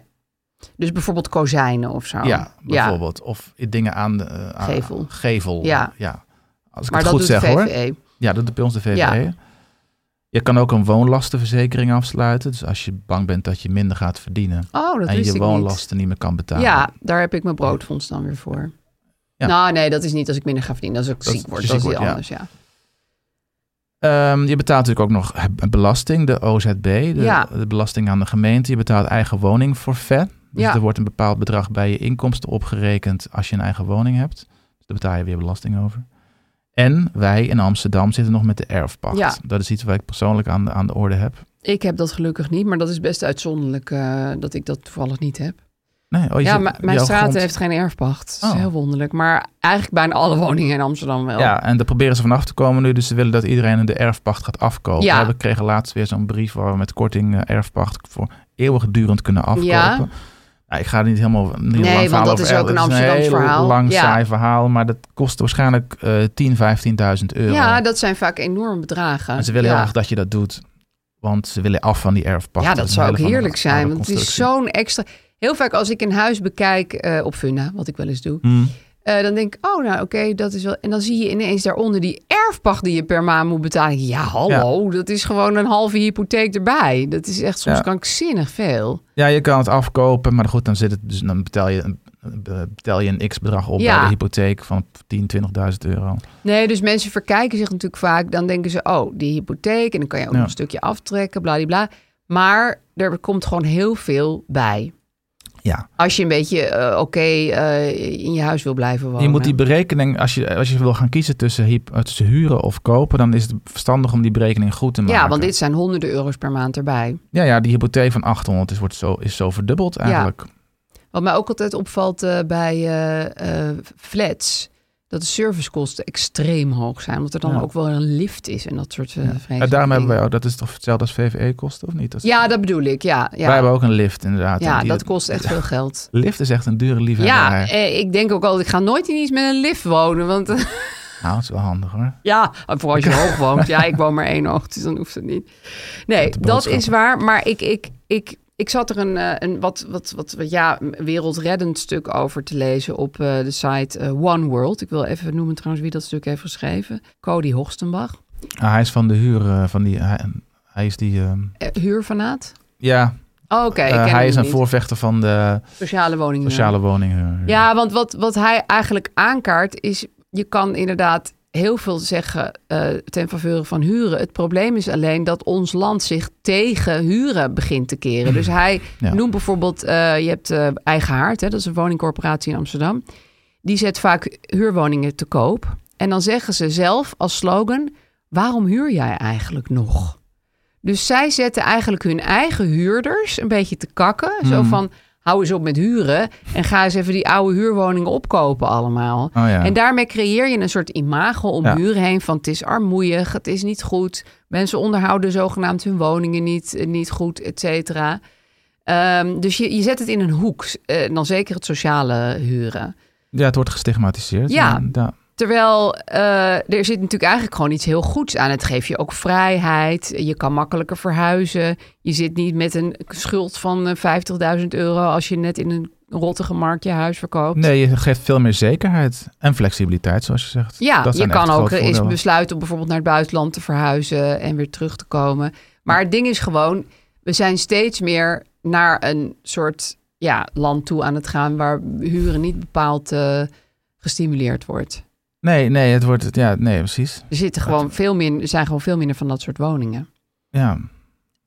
Dus bijvoorbeeld kozijnen of zo. Ja, bijvoorbeeld. Of dingen aan de eh, aan- Nou, Gevel. gevel. Ja. Als ik Maar het dat goed doet zeg de E. hoor. VVE. Ja, dat doet bij ons de VVE. Ja. Je kan ook een woonlastenverzekering afsluiten. Dus als je bang bent dat je minder gaat verdienen Oh, dat en wist je ik niet. woonlasten niet. meer kan betalen. Ja, daar heb ik mijn broodfonds dan weer voor. Ja. Nou, nee, dat is niet als ik minder ga verdienen. Als ik Dat ziek is- word, als je dat is ziek iets wordt, anders, ja. Ehm, je betaalt natuurlijk ook nog he- belasting, de OZB, de, Ja. de belasting aan de gemeente. Je betaalt eigen woning forfait. Dus Ja. er wordt een bepaald bedrag bij je inkomsten opgerekend als je een eigen woning hebt. Dus daar betaal je weer belasting over. En wij in Amsterdam zitten nog met de erfpacht. Ja. Dat is iets waar ik persoonlijk aan de, aan de orde heb. Ik heb dat gelukkig niet, maar dat is best uitzonderlijk eh, dat ik dat toevallig niet heb. Nee, oh, je ja, zit- maar mijn jouw straat grond- heeft geen erfpacht. Dat is Oh. heel wonderlijk. Maar eigenlijk bijna alle woningen in Amsterdam wel. Ja, en daar proberen ze vanaf te komen nu. Dus ze willen dat iedereen de erfpacht gaat afkopen. Ja. We kregen laatst weer zo'n brief waar we met korting eh, erfpacht voor eeuwigdurend kunnen afkopen. Ja. Nou, ik ga er niet helemaal een heel want lang verhaal dat over is ook erf- een het Amsterdams heel verhaal. lang Ja. saai verhaal, maar dat kost waarschijnlijk eh 10, 15.000 euro. Ja, dat zijn vaak enorme bedragen. en ze willen ja. heel erg dat je dat doet, want ze willen af van die erfpacht. Ja, dat is zou een ook hele van- heerlijk zijn. oude Want het is constructie. zo'n extra... Heel vaak als ik een huis bekijk eh, op Funda, wat ik wel eens doe... Hmm. Eh, dan denk ik, oh, nou oké, dat is wel. En dan zie je ineens daaronder die erfpacht die je per maand moet betalen. Ja, hallo, dat is gewoon een halve hypotheek erbij. Dat is echt soms Ja. krankzinnig veel. Ja, je kan het afkopen, maar goed, dan, zit het, dus dan betaal, je, een- eh, betaal je een x-bedrag op Ja. bij de hypotheek van 10, 20.000 euro. Nee, dus mensen verkijken zich natuurlijk vaak. Dan denken ze, oh, die hypotheek. En dan kan je ook Ja. nog een stukje aftrekken, bladibla. Maar er komt gewoon heel veel bij. Ja, Als je een beetje eh, oké eh, in je huis wil blijven wonen. je moet die berekening, als je, als je wil gaan kiezen tussen, hyp- eh, tussen huren of kopen, dan is het verstandig om die berekening goed te maken. ja, want dit zijn honderden euro's per maand erbij. ja, ja die hypotheek van 800 is, wordt zo, is zo verdubbeld eigenlijk. Wat mij ook altijd opvalt eh, bij eh, eh, flats, dat de servicekosten extreem hoog zijn. Omdat er dan Ja. ook wel een lift is en dat soort eh En vreselijke daarom hebben dingen. wij ook, dat is toch hetzelfde als VVE-kosten of niet? Dat is- Ja, dat bedoel ik. Ja, ja. Wij hebben ook een lift inderdaad. ja En die- dat kost echt veel geld. Lift is echt een dure Ja, liefhebberij. Ja, eh, ik denk ook altijd, ik ga nooit in iets met een lift wonen. Want eh, Nou, het is wel handig hoor. ja, voor als je hoog woont. Ja, ik woon maar één hoog, dus dan hoeft het niet. Nee, Met de dat is boodschappen. waar. Maar ik, ik, ik, ik zat er een, eh, een wat, wat, wat, wat ja, een wereldreddend stuk over te lezen op eh, de site eh, One World. Ik wil even noemen trouwens wie dat stuk heeft geschreven. Cody Hoogstenbach, Ah, hij is van de huur, eh, van die, hij, hij is die, ehm, eh, huurfanaat. ja, Oh, Oké, ik eh, ken hem hij is een niet. voorvechter van de sociale woningen. sociale woninghuur. Ja, want wat, wat hij eigenlijk aankaart is, je kan inderdaad heel veel zeggen eh, ten faveur van huren. Het probleem is alleen dat ons land zich tegen huren begint te keren. Dus hij Ja. noemt bijvoorbeeld, eh, je hebt eh, Eigen Haard, hè, dat is een woningcorporatie in Amsterdam. Die zet vaak huurwoningen te koop. En dan zeggen ze zelf als slogan, waarom huur jij eigenlijk nog? Dus zij zetten eigenlijk hun eigen huurders een beetje te kakken. Zo Hmm. van, hou eens op met huren en ga eens even die oude huurwoningen opkopen allemaal. Oh ja. En daarmee creëer je een soort imago om Ja. huren heen van het is armoeig, het is niet goed. Mensen onderhouden zogenaamd hun woningen niet, eh, niet goed, et cetera. Ehm, dus je, je zet het in een hoek, eh, en dan zeker het sociale huren. Ja, het wordt gestigmatiseerd. Ja. En da- Terwijl eh, er zit natuurlijk eigenlijk gewoon iets heel goeds aan. Het geeft je ook vrijheid. Je kan makkelijker verhuizen. Je zit niet met een schuld van eh, 50.000 euro als je net in een rottige markt je huis verkoopt. nee, je geeft veel meer zekerheid en flexibiliteit, zoals je zegt. Ja, Dat je zijn echt kan ook eh, grote eens voordelen. besluiten om bijvoorbeeld naar het buitenland te verhuizen en weer terug te komen. Maar het ding is gewoon, we zijn steeds meer naar een soort ja, land toe aan het gaan waar huren niet bepaald eh, gestimuleerd wordt. Nee, nee, het wordt, ja, nee, precies. Er, zitten gewoon veel min, er zijn gewoon veel minder van dat soort woningen. Ja,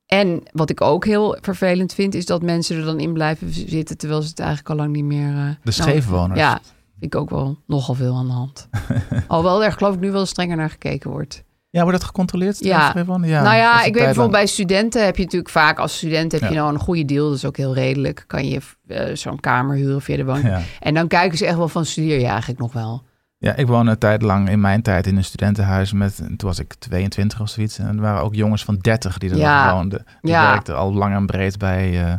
En wat ik ook heel vervelend vind, is dat mensen er dan in blijven zitten terwijl ze het eigenlijk al lang niet meer. eh, de scheefwoners. Ja, vind ik ook wel nogal veel aan de hand. Alhoewel er geloof ik nu wel strenger naar gekeken wordt. Ja, wordt dat gecontroleerd? de Ja. scheefwoner? ja nou dat ja, is een ik weet tijd lang- bijvoorbeeld bij studenten heb je natuurlijk vaak als student heb je Ja. nou een goede deal, dat is ook heel redelijk. Kan je eh, zo'n kamer huren via de woning. Ja. En dan kijken ze echt wel van studeer je eigenlijk nog wel. Ja, ik woonde een tijd lang in mijn tijd in een studentenhuis. Met, en toen was ik 22 of zoiets. En er waren ook jongens van 30 die er Ja. nog woonden. Die Ja. werkten al lang en breed bij... eh,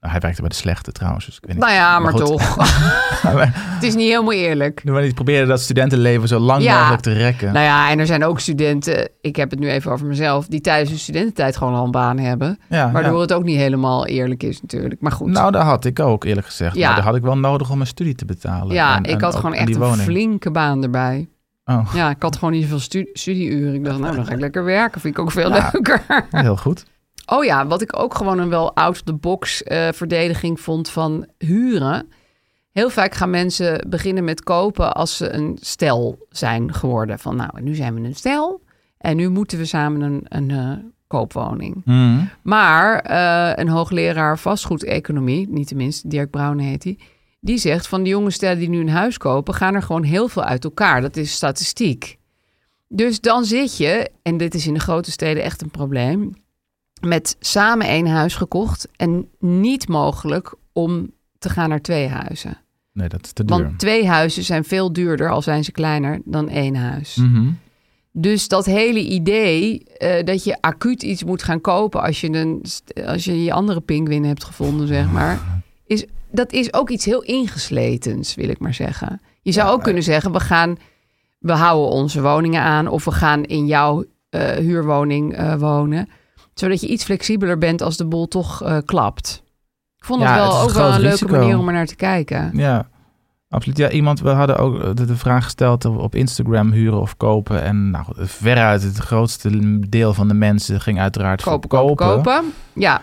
nou, hij werkte bij de slechte trouwens, dus ik weet niet. Nou ja, maar, goed. toch. het is niet helemaal eerlijk. Maar die probeerden dat studentenleven zo lang Ja. mogelijk te rekken. Nou ja, en er zijn ook studenten, ik heb het nu even over mezelf, die tijdens hun studententijd gewoon al een baan hebben. ja, Waardoor Ah, ja. het ook niet helemaal eerlijk is natuurlijk. Maar goed. Nou, dat had ik ook eerlijk gezegd. Ja. Maar dat had ik wel nodig om mijn studie te betalen. ja, En- ik en had ook- gewoon en echt die een woning. flinke baan erbij. Oh, Ja, ik had gewoon niet zoveel stu- studieuren. Ik dacht, nou, dan ga ik lekker werken. Vind ik ook veel leuker. heel goed. Oh ja, wat ik ook gewoon een wel out-of-the-box eh, verdediging vond van huren. Heel vaak gaan mensen beginnen met kopen als ze een stel zijn geworden. Van nou, nu zijn we een stel en nu moeten we samen een, een eh, koopwoning. Maar eh, een hoogleraar vastgoedeconomie, niet tenminste, Dirk Brown heet hij... die zegt van de jonge stellen die nu een huis kopen... gaan er gewoon heel veel uit elkaar. Dat is statistiek. Dus dan zit je, en dit is in de grote steden echt een probleem... met samen één huis gekocht en niet mogelijk om te gaan naar twee huizen. Nee, dat is te duur. Want twee huizen zijn veel duurder, al zijn ze kleiner, dan één huis. Mhm. Dus dat hele idee eh, dat je acuut iets moet gaan kopen als je, een, als je je andere pinguïn hebt gevonden, zeg maar, is, dat is ook iets heel ingesletens, wil ik maar zeggen. Je zou ook kunnen zeggen, we gaan, we houden onze woningen aan of we gaan in jouw eh, huurwoning eh, wonen, zodat je iets flexibeler bent als de bol toch eh, klapt. Ik vond Ja, het wel het is een ook wel groot een leuke risico. manier om er naar te kijken. Ja. Absoluut. Ja, iemand, we hadden ook eh, de, de vraag gesteld of we op Instagram huren of kopen. En nou, goed, veruit het grootste deel van de mensen ging uiteraard Kopen, voor kopen, kopen. Ja,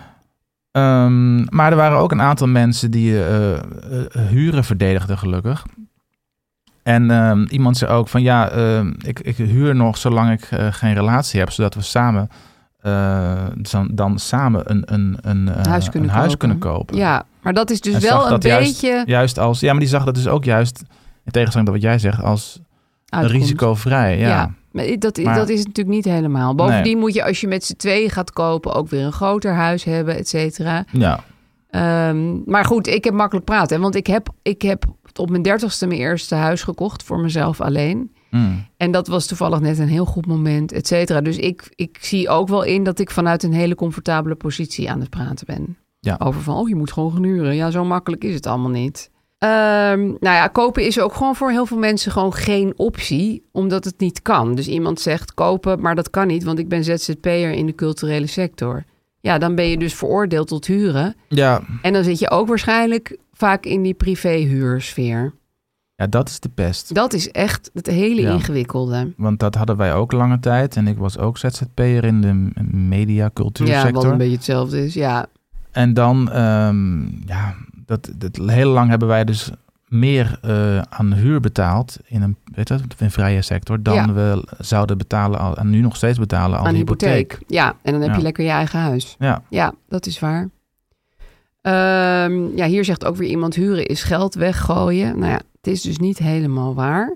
Ehm, maar er waren ook een aantal mensen die eh, eh, huren verdedigden, gelukkig. En ehm, iemand zei ook van ja, ehm, ik, ik huur nog zolang ik eh, geen relatie heb, zodat we samen eh, dan, dan samen een, een, een, eh, Huis kunnen een huis kopen. kunnen kopen. ja. Maar dat is dus En zag wel een dat juist- beetje Juist als, ja, maar die zag dat dus ook juist, in tegenstelling tot wat jij zegt, als uitkomst. risicovrij. eh, Ja. Ja. Maar i- dat, i- Maar- dat is natuurlijk niet helemaal. Bovendien moet je als je met z'n tweeën gaat kopen ook weer een groter huis hebben, et cetera. ja. Ehm, maar goed, ik heb makkelijk praten. hè, Want ik heb, ik heb op mijn dertigste mijn eerste huis gekocht voor mezelf alleen. Mm. En dat was toevallig net een heel goed moment, et cetera. Dus ik, ik zie ook wel in dat ik vanuit een hele comfortabele positie aan het praten ben. Ja. Over van, oh, je moet gewoon genuren. Ja, zo makkelijk is het allemaal niet. Ehm, nou ja, kopen is ook gewoon voor heel veel mensen gewoon geen optie, omdat het niet kan. Dus iemand zegt kopen, maar dat kan niet, want ik ben ZZP'er in de culturele sector. Ja, dan ben je dus veroordeeld tot huren. ja. En dan zit je ook waarschijnlijk vaak in die privéhuursfeer. Ja, dat is de pest. Dat is echt het hele Ja. ingewikkelde. Want dat hadden wij ook lange tijd. En ik was ook ZZP'er in de m- media, Ja, wat cultuursector. een beetje hetzelfde is. Ja, en dan, ehm, ja, dat, dat, heel lang hebben wij dus meer eh, aan huur betaald in een, weet je, dat, in een vrije sector dan Ja. we zouden betalen al- en nu nog steeds betalen als aan hypotheek. hypotheek. Ja, en dan heb Ja. je lekker je eigen huis. Ja. Ja, dat is waar. Ehm, ja, hier zegt ook weer iemand huren is geld weggooien. Nou ja, het is dus niet helemaal waar.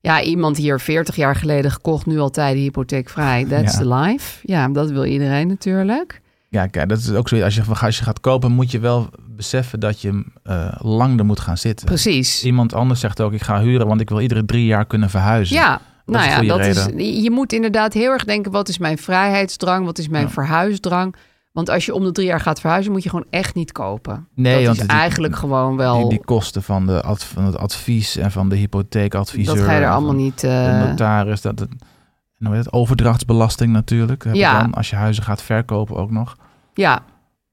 Ja, iemand hier 40 jaar geleden gekocht, nu altijd hypotheekvrij. That's Ja. the life. Ja, dat wil iedereen natuurlijk. Ja, kijk, dat is ook zo. Als je, als je gaat kopen, moet je wel beseffen dat je eh, lang er moet gaan zitten. Precies. Iemand anders zegt ook, ik ga huren, want ik wil iedere drie jaar kunnen verhuizen. Ja, Dus nou is een ja, goede dat is, je moet inderdaad heel erg denken... wat is mijn vrijheidsdrang, wat is mijn Ja. verhuisdrang? Want als je om de drie jaar gaat verhuizen... moet je gewoon echt niet kopen. Nee, dat want is het- eigenlijk gewoon wel... Die, die kosten van, de ad- van het advies en van de hypotheekadviseur. dat ga je en er allemaal van niet... De eh, notaris, dat, dat, en hoe heet het, overdrachtsbelasting natuurlijk. Heb je Ja. dan, als je huizen gaat verkopen ook nog. ja,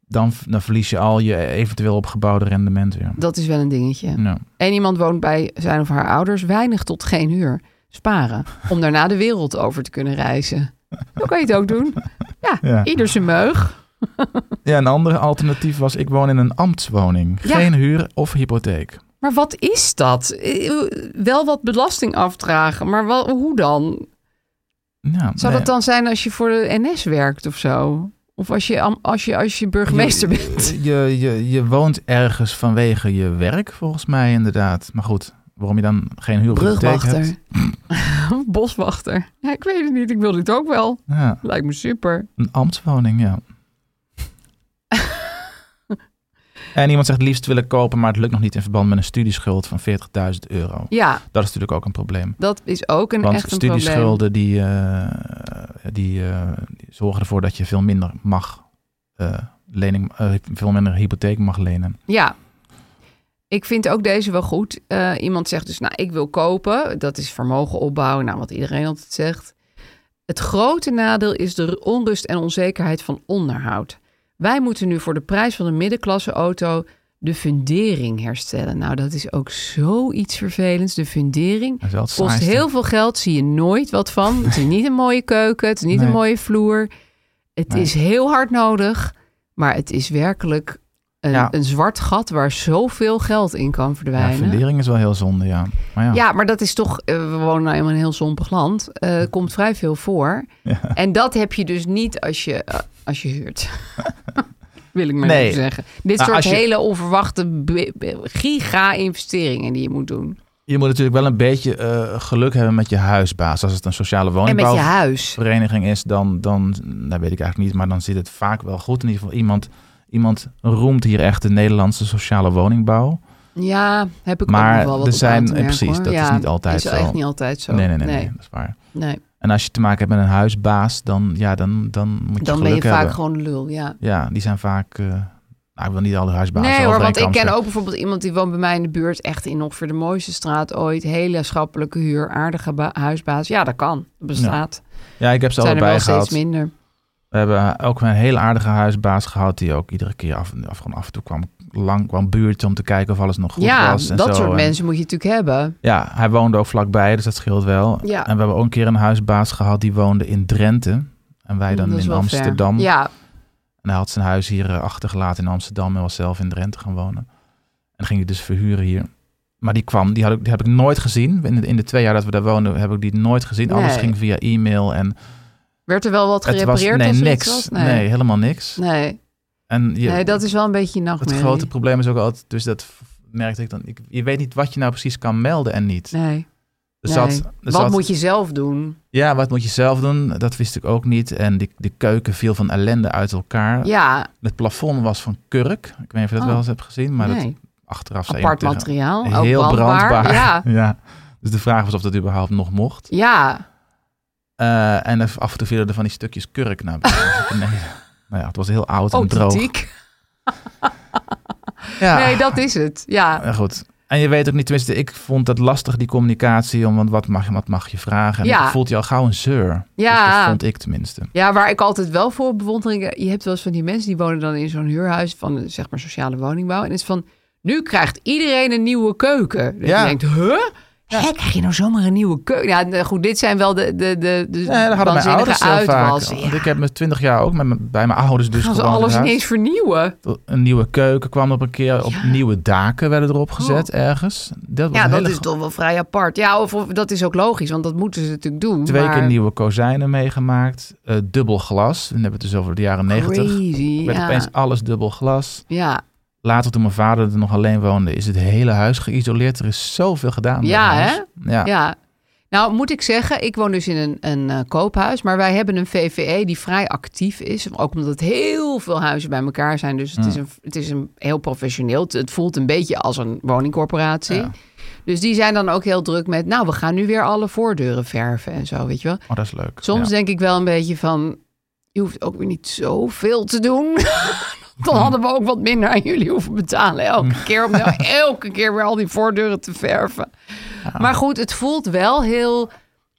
Dan, v- dan verlies je al je eventueel opgebouwde rendement weer. dat is wel een dingetje. Ja. En iemand woont bij zijn of haar ouders weinig tot geen huur. Sparen. Om daarna de wereld over te kunnen reizen. Zo kan je het ook doen. Ja, Ja. ieder zijn meug. ja, een ander alternatief was ik woon in een ambtswoning. Ja. Geen huur of hypotheek. Maar wat is dat? Eh, Wel wat belasting afdragen, maar wel, hoe dan? Nou Ja, Zou nee. dat dan zijn als je voor de NS werkt of zo? Of als je, am- als je, als je burgemeester Je- bent? Je, je, je woont ergens vanwege je werk, volgens mij inderdaad. Maar goed, waarom je dan geen huur of hypotheek hebt. Brugwachter. Boswachter. Ja, ik weet het niet, ik wil dit ook wel. Ja, Lijkt me super. een ambtswoning, ja. en iemand zegt liefst willen kopen, maar het lukt nog niet in verband met een studieschuld van 40.000 euro. Ja, Dat is natuurlijk ook een probleem. dat is ook een Want echt een probleem. studieschulden die, eh, die, eh, die zorgen ervoor dat je veel minder mag eh, lening, eh, veel minder hypotheek mag lenen. Ja. Ik vind ook deze wel goed. Eh, iemand zegt dus, nou, ik wil kopen. Dat is vermogen opbouwen. Nou, wat iedereen altijd zegt. Het grote nadeel is de onrust en onzekerheid van onderhoud. Wij moeten nu voor de prijs van een middenklasse auto de fundering herstellen. Nou, dat is ook zoiets vervelends. De fundering Dat is wel het kost saaiste. heel veel geld. Zie je nooit wat van. Het is niet een mooie keuken. Het is niet Nee. een mooie vloer. Het Nee. is heel hard nodig. Maar het is werkelijk een, Ja. een zwart gat waar zoveel geld in kan Ja, verdwijnen. Ja, fundering is wel heel zonde, ja. Maar ja, maar dat is toch, eh, we wonen nou eenmaal in een heel zompig land. Eh, Er komt vrij veel voor. Ja. En dat heb je dus niet als je, eh, als je huurt. Wil ik maar Nee. even zeggen. Dit Nou, soort als je- hele onverwachte be- be- giga-investeringen die je moet doen. je moet natuurlijk wel een beetje eh, geluk hebben met je huisbaas. Als het een sociale En met je woningbouw huis. vereniging is, dan, dan dat weet ik eigenlijk niet, maar dan zit het vaak wel goed. In ieder geval, iemand, iemand roemt hier echt de Nederlandse sociale woningbouw. Ja, heb ik Maar ook nog wel wat er op aan zijn- eh, te merken, precies, hoor. dat is Ja, niet altijd is zo. echt niet altijd zo. nee, nee, nee, nee, nee. dat is waar. nee. En als je te maken hebt met een huisbaas, dan, ja, dan, dan moet je Dan geluk ben je vaak hebben. gewoon een lul, ja. Ja, die zijn vaak, eh, nou, ik wil niet alle huisbazen. Nee over hoor, één want ik kam ken scheren. ook bijvoorbeeld iemand die woont bij mij in de buurt. Echt in ongeveer de mooiste straat ooit. Hele schappelijke huur, aardige ba- huisbaas. Ja, dat kan. Dat bestaat. Ja, ik heb ze Er zijn er wel allebei steeds gehad. minder. We hebben ook een heel aardige huisbaas gehad die ook iedere keer af, af, gewoon af en toe kwam lang kwam buurt om te kijken of alles nog goed ja, was. en dat zo. soort En- mensen moet je natuurlijk hebben. Ja, hij woonde ook vlakbij, dus dat scheelt wel. Ja. En we hebben ook een keer een huisbaas gehad die woonde in Drenthe. En wij dan Dat is in wel fair. Amsterdam. Ja, En hij had zijn huis hier eh, achtergelaten in Amsterdam en was zelf in Drenthe gaan wonen. En ging hij dus verhuren hier. Maar die kwam, die, had ik, die heb ik nooit gezien. In de, in de twee jaar dat we daar woonden, heb ik die nooit gezien. Alles Nee. ging via e-mail en werd er wel wat het was gerepareerd nee, als er niks. iets was? Nee. Nee. helemaal niks. Nee. En je, nee, dat is wel een beetje een het nachtmerrie. grote probleem is ook altijd, dus dat v- merkte ik dan. Ik, je weet niet wat je nou precies kan melden en niet. Nee. Er nee. zat- er wat zat- moet je zelf doen? Ja, wat moet je zelf doen? Dat wist ik ook niet. En die, de keuken viel van ellende uit elkaar. Ja, Het plafond was van kurk. Ik weet niet of je dat Oh. wel eens hebt gezien, maar dat nee. achteraf zei apart iemand tegen- materiaal. ook Heel brandbaar. Ja, Dus de vraag was of dat überhaupt nog mocht. ja. Eh, en er- af en toe vielen er van die stukjes kurk naar beneden. nee. Nou ja, het was heel oud en droog. authentiek. Ja. Nee, dat is het. Ja, Eh, goed. En je weet ook niet, tenminste, ik vond dat lastig, die communicatie. Om, want wat mag, wat mag je vragen? En Ja. ik voelt je al gauw een zeur. Ja. Dus dat vond ik tenminste. ja waar ik altijd wel voor bewondering... Je hebt wel eens van die mensen die wonen dan in zo'n huurhuis... van eh, zeg maar sociale woningbouw. En het is van, nu krijgt iedereen een nieuwe keuken. Dat Ja. je denkt, huh? Hè, krijg je nou zomaar een nieuwe keuken? Ja, nou goed, dit zijn wel de, de, de, de Nee, dat hadden mijn waanzinnige ouders heel vaak. uitwassen. Want Ja. ik heb me twintig jaar ook met mijn- bij mijn ouders dus Gaan ze gewoond alles in huis. ineens vernieuwen? Een nieuwe keuken kwam op een keer, op nieuwe daken werden erop gezet ergens. Dat was Oh. Ja, een dat hele is gro- toch wel vrij apart. Ja, of, of- dat is ook logisch, want dat moeten ze natuurlijk doen. Twee maar keer nieuwe kozijnen meegemaakt, eh, dubbel glas. Dan hebben we het dus over de jaren negentig. Crazy, Werd ja. opeens alles dubbel glas. Ja, Later toen mijn vader er nog alleen woonde, is het hele huis geïsoleerd. Er is zoveel gedaan. met Ja, het hè? huis. Ja. Ja. Nou, moet ik zeggen, ik woon dus in een, een eh, koophuis. Maar wij hebben een VVE die vrij actief is. Ook omdat het heel veel huizen bij elkaar zijn. Dus het, is, een, het is een heel professioneel. Het, het voelt een beetje als een woningcorporatie. Dus die zijn dan ook heel druk met... nou, we gaan nu weer alle voordeuren verven en zo, weet je wel. Oh, dat is leuk. Soms ja. denk ik wel een beetje van... je hoeft ook weer niet zoveel te doen. Dan hadden we ook wat minder aan jullie hoeven betalen. Mm. Elke keer om nou elke keer weer al die voordeuren te verven. Maar goed, het voelt wel heel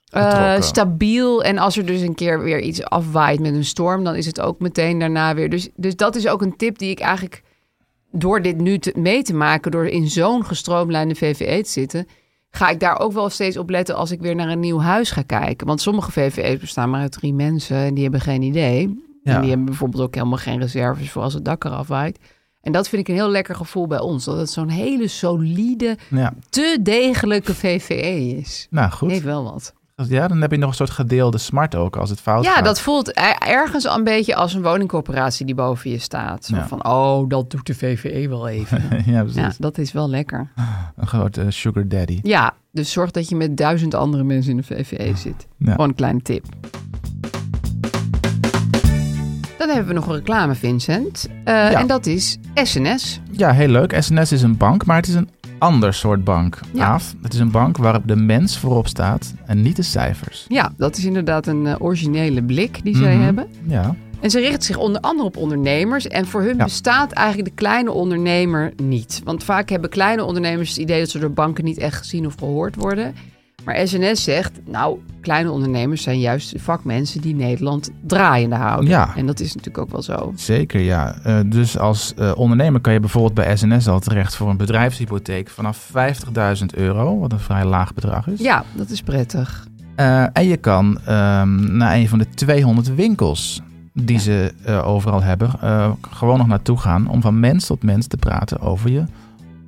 eh, Betrokken. stabiel. En als er dus een keer weer iets afwaait met een storm... dan is het ook meteen daarna weer. Dus, dus dat is ook een tip die ik eigenlijk... door dit nu te, mee te maken... door in zo'n gestroomlijnde VVE te zitten... ga ik daar ook wel steeds op letten... als ik weer naar een nieuw huis ga kijken. Want sommige VVE's bestaan maar uit drie mensen... en die hebben geen idee. Ja. En die hebben bijvoorbeeld ook helemaal geen reserves... voor als het dak eraf waait. En dat vind ik een heel lekker gevoel bij ons. Dat het zo'n hele solide, Ja. te degelijke VVE is. Nou goed, Heeft wel wat. ja, dan heb je nog een soort gedeelde smart ook als het fout Ja, gaat. dat voelt e- ergens al een beetje als een woningcorporatie die boven je staat. Zo Ja. Van, oh, dat doet de VVE wel even. ja, precies. ja, dat is wel lekker. Een grote sugar daddy. Ja, dus zorg dat je met duizend andere mensen in de VVE zit. Ja. Gewoon een kleine tip. Dan hebben we nog een reclame, Vincent. Eh, En dat is SNS. Ja, heel leuk. SNS is een bank, maar het is een ander soort bank. Ja. Aaf, het is een bank waarop de mens voorop staat en niet de cijfers. Ja, dat is inderdaad een eh, originele blik die zij Mhm. hebben. Ja, En ze richt zich onder andere op ondernemers. En voor hun Ja. bestaat eigenlijk de kleine ondernemer niet. Want vaak hebben kleine ondernemers het idee dat ze door banken niet echt gezien of gehoord worden. Maar SNS zegt, nou, kleine ondernemers zijn juist de vakmensen die Nederland draaiende houden. Ja. En dat is natuurlijk ook wel zo. zeker ja. Eh, dus als eh, ondernemer kan je bijvoorbeeld bij SNS al terecht voor een bedrijfshypotheek vanaf 50.000 euro, wat een vrij laag bedrag is. Ja, dat is prettig. Eh, en je kan ehm, naar een van de 200 winkels die ze eh, overal hebben, eh, gewoon nog naartoe gaan om van mens tot mens te praten over je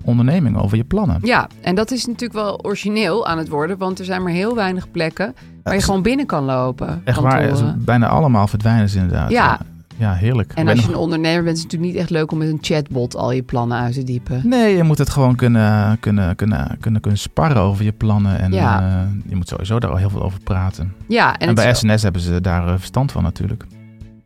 onderneming, over je plannen. Ja, en dat is natuurlijk wel origineel aan het worden, want er zijn maar heel weinig plekken waar je Echt- gewoon binnen kan lopen. Echt waar, Kantoren. ze- bijna allemaal verdwijnen ze inderdaad. eh, Ja. Ja, heerlijk. Ik En ben als je nog- een ondernemer bent, is het natuurlijk niet echt leuk om met een chatbot al je plannen uit te diepen. Nee, je moet het gewoon kunnen, kunnen, kunnen, kunnen, kunnen sparren over je plannen. En Ja. eh, je moet sowieso daar al heel veel over praten. En, Ja, en, het bij is- SNS hebben ze daar eh, verstand van natuurlijk.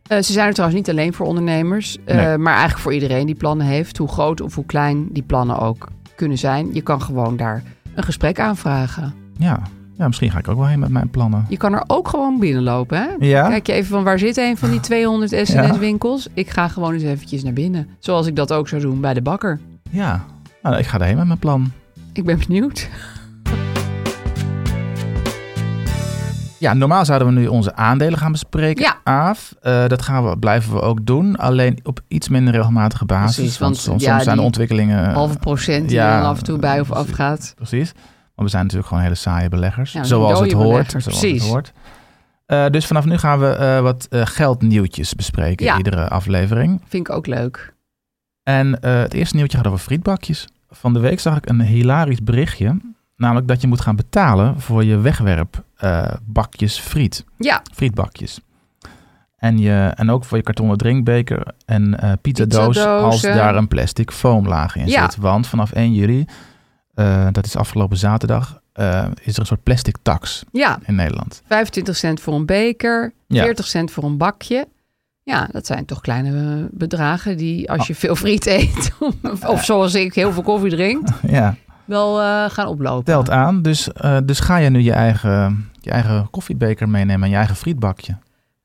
Eh, ze zijn er trouwens niet alleen voor ondernemers, eh, Nee. maar eigenlijk voor iedereen die plannen heeft, hoe groot of hoe klein die plannen ook kunnen zijn. Je kan gewoon daar een gesprek aanvragen. Ja. ja, misschien ga ik ook wel heen met mijn plannen. Je kan er ook gewoon binnenlopen. Hè? Ja? Ah. Kijk je even van waar zit een van die 200 Ja. SNS-winkels? Ik ga gewoon eens eventjes naar binnen. Zoals ik dat ook zou doen bij de bakker. Ja, nou, ik ga daarheen met mijn plan. Ik ben benieuwd. Ja, normaal zouden we nu onze aandelen gaan bespreken. Ja. Aaf, eh, dat gaan we, blijven we ook doen. Alleen op iets minder regelmatige basis. Precies, want, want soms, ja, soms zijn de die ontwikkelingen... eh, Halve procent die ja, er dan af en toe bij of precies. afgaat. Precies. Want we zijn natuurlijk gewoon hele saaie beleggers. Ja, zoals dode het hoort. beleggers, zoals precies. Het hoort. Eh, dus vanaf nu gaan we eh, wat eh, geldnieuwtjes bespreken Ja. in iedere aflevering. Vind ik ook leuk. En eh, het eerste nieuwtje gaat over frietbakjes. Van de week zag ik een hilarisch berichtje. Namelijk dat je moet gaan betalen voor je wegwerpbakjes bakjes friet. Ja, Frietbakjes. En, je, en ook voor je kartonnen drinkbeker en eh pizzadoos Pizzadozen. als daar een plastic foamlaag in Ja. zit. Want vanaf 1 juli, eh, dat is afgelopen zaterdag, eh, is er een soort plastic tax ja, in Nederland. 25 cent voor een beker, Ja. 40 cent voor een bakje. Ja, dat zijn toch kleine eh, bedragen die Ah. als je veel friet eet, of, of zoals ik heel veel koffie drinkt, Ja, wel eh, gaan oplopen. telt aan. Dus, eh, dus ga je nu je eigen, je eigen koffiebeker meenemen en je eigen frietbakje.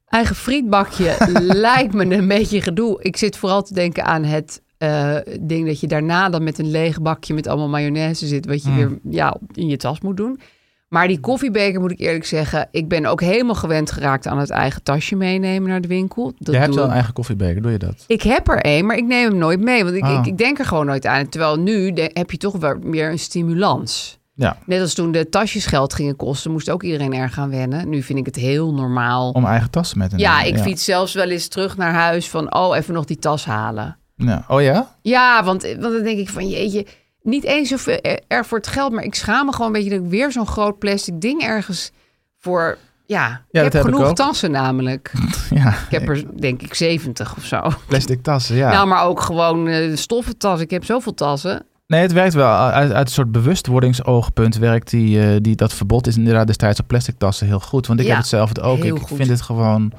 Eigen frietbakje lijkt me een beetje gedoe. Ik zit vooral te denken aan het eh, ding dat je daarna dan met een leeg bakje met allemaal mayonaise zit, wat je Mm. weer ja, op- in je tas moet doen. Maar die koffiebeker moet ik eerlijk zeggen, ik ben ook helemaal gewend geraakt aan het eigen tasje meenemen naar de winkel. Dat je hebt doe wel ik een eigen koffiebeker, doe je dat? Ik heb er één, maar ik neem hem nooit mee. Want ik, Ah. ik, ik denk er gewoon nooit aan. Terwijl nu de- heb je toch wel meer een stimulans. Ja, Net als toen de tasjes geld gingen kosten, moest ook iedereen erg gaan wennen. Nu vind ik het heel normaal. om eigen tassen mee te nemen. ja, ik fiets zelfs wel eens terug naar huis van, oh, even nog die tas halen. Ja. Oh ja? Ja, want, want dan denk ik van, jeetje, niet eens of er voor het geld, maar ik schaam me gewoon een beetje dat ik weer zo'n groot plastic ding ergens voor. Ja, ik dat heb heb ik genoeg ook. tassen namelijk. Ja, Ik heb er denk ik 70 of zo. plastic tassen, ja. Nou, maar ook gewoon eh, stoffen tassen. Ik heb zoveel tassen. Nee, het werkt wel. Uit, uit een soort bewustwordingsoogpunt werkt die, eh, die, dat verbod is inderdaad destijds op plastic tassen heel goed. Want ik Ja, heb hetzelfde ook. heel Ik goed. vind het gewoon...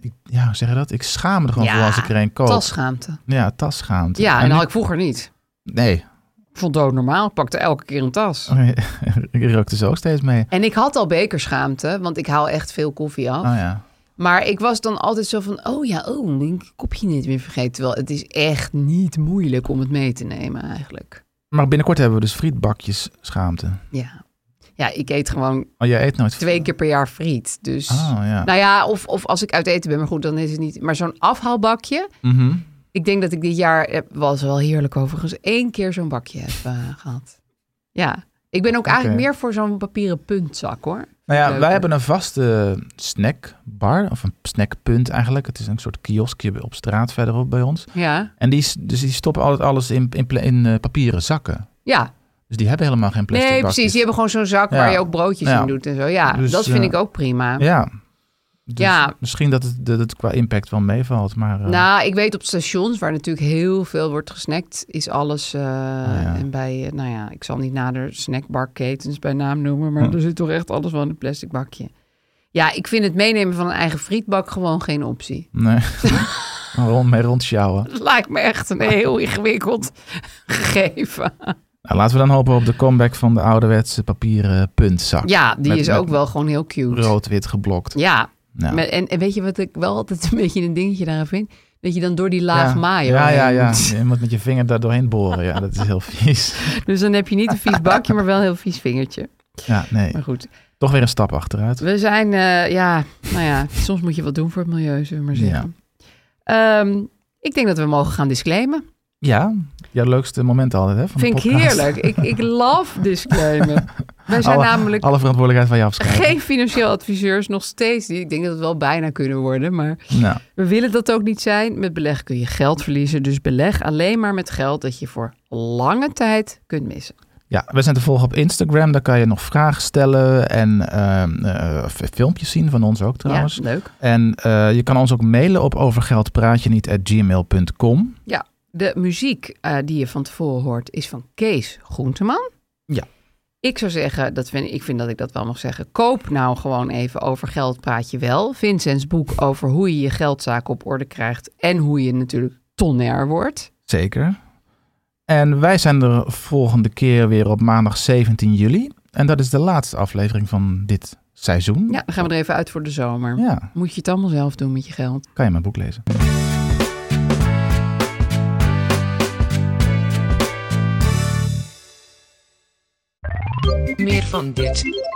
Ik, ja, hoe zeg je dat? Ik schaam me er gewoon Ja, voor als ik er een koop. Tasschaamte. Ja, tasschaamd. Ja, en dat Oh. nu- had ik vroeger niet. Nee, Ik vond het ook normaal. Ik pakte elke keer een Oh. tas. ik rookte zo ook steeds mee. En ik had al bekerschaamte, want ik haal echt veel koffie af. Oh ja. Maar ik was dan altijd zo van, oh ja, oh, ben ik een kopje niet meer vergeten. Terwijl het is echt niet moeilijk om het mee te nemen eigenlijk. Maar binnenkort hebben we dus frietbakjes schaamte. Ja, ja ik eet gewoon Oh, jij eet nooit twee keer per jaar friet. Dus, Oh ja. nou ja, of, of als ik uit eten ben, maar goed, dan is het niet. Maar zo'n afhaalbakje, Mhm. Ik denk dat ik dit jaar, eh, was wel heerlijk overigens, één keer zo'n bakje heb eh, gehad. Ja, ik ben ook eigenlijk Oké. meer voor zo'n papieren puntzak hoor. Nou ja, Leuker. wij hebben een vaste snackbar, of een snackpunt eigenlijk. Het is een soort kioskje op straat verderop bij ons. Ja, En die, s- dus die stoppen altijd alles in, in, pla- in eh, papieren zakken. ja. Dus die hebben helemaal geen plastic nee precies. bakjes. Die hebben gewoon zo'n zak Ja. waar je ook broodjes Ja. in doet en zo. Ja, Dus, dat vind eh, ik ook prima. Ja. Dus Ja. Misschien dat het, dat het qua impact wel meevalt, maar... eh, Nou, ik weet op stations waar natuurlijk heel veel wordt gesnackt, is alles. eh, Oh, ja. En bij, eh, nou ja, ik zal niet nader snackbarketens bij naam noemen, Hm. maar er zit toch echt alles wel in een plastic bakje. Ja, ik vind het meenemen van een eigen frietbak gewoon geen optie. Nee. rond, mee rondsjouwen. Het lijkt me echt een heel ingewikkeld gegeven. Nou, laten we dan hopen op de comeback van de ouderwetse papieren puntzak. Ja, die Met- is met ook wel gewoon heel cute. Rood-wit geblokt. Nou. Ja, Ja. met- en, en weet je wat ik wel altijd een beetje een dingetje daaraan vind? Dat je dan door die laag ja. mayo Ja, ja, heen ja. moet. Je moet met je vinger daar doorheen boren. Ja, dat is heel vies. Dus dan heb je niet een vies bakje, maar wel een heel vies vingertje. Ja, nee. Maar goed, Toch weer een stap achteruit. we zijn, eh, ja, nou ja, soms moet je wat doen voor het milieu, zullen we maar zeggen. Ehm, ik denk dat we mogen gaan disclaimen. Ja, jouw leukste moment altijd, hè? Van de Vind ik podcast. heerlijk. Ik, ik love disclaimen. Wij zijn alle, namelijk alle verantwoordelijkheid van je afschrijven. geen financieel adviseurs, nog steeds niet. Ik denk dat het wel bijna kunnen worden, maar... Nou, We willen dat ook niet zijn. Met beleg kun je geld verliezen. Dus beleg alleen maar met geld dat je voor lange tijd kunt missen. Ja, we zijn te volgen op Instagram. Daar kan je nog vragen stellen en ehm, eh, f- filmpjes zien van ons ook trouwens. Ja, leuk. En eh, je kan ons ook mailen op overgeldpraatjeniet@gmail.com. De muziek eh, die je van tevoren hoort is van Kees Groenteman. Ja. Ik zou zeggen, dat vind, ik vind dat ik dat wel mag zeggen. Koop nou gewoon even over geld praat je wel. Vincents boek over hoe je je geldzaken op orde krijgt. En hoe je natuurlijk tonner wordt. Zeker. En wij zijn er volgende keer weer op maandag 17 juli. En dat is de laatste aflevering van dit seizoen. Ja, dan gaan we er even uit voor de zomer. Ja, Moet je het allemaal zelf doen met je geld. kan je mijn boek lezen. Meer van dit.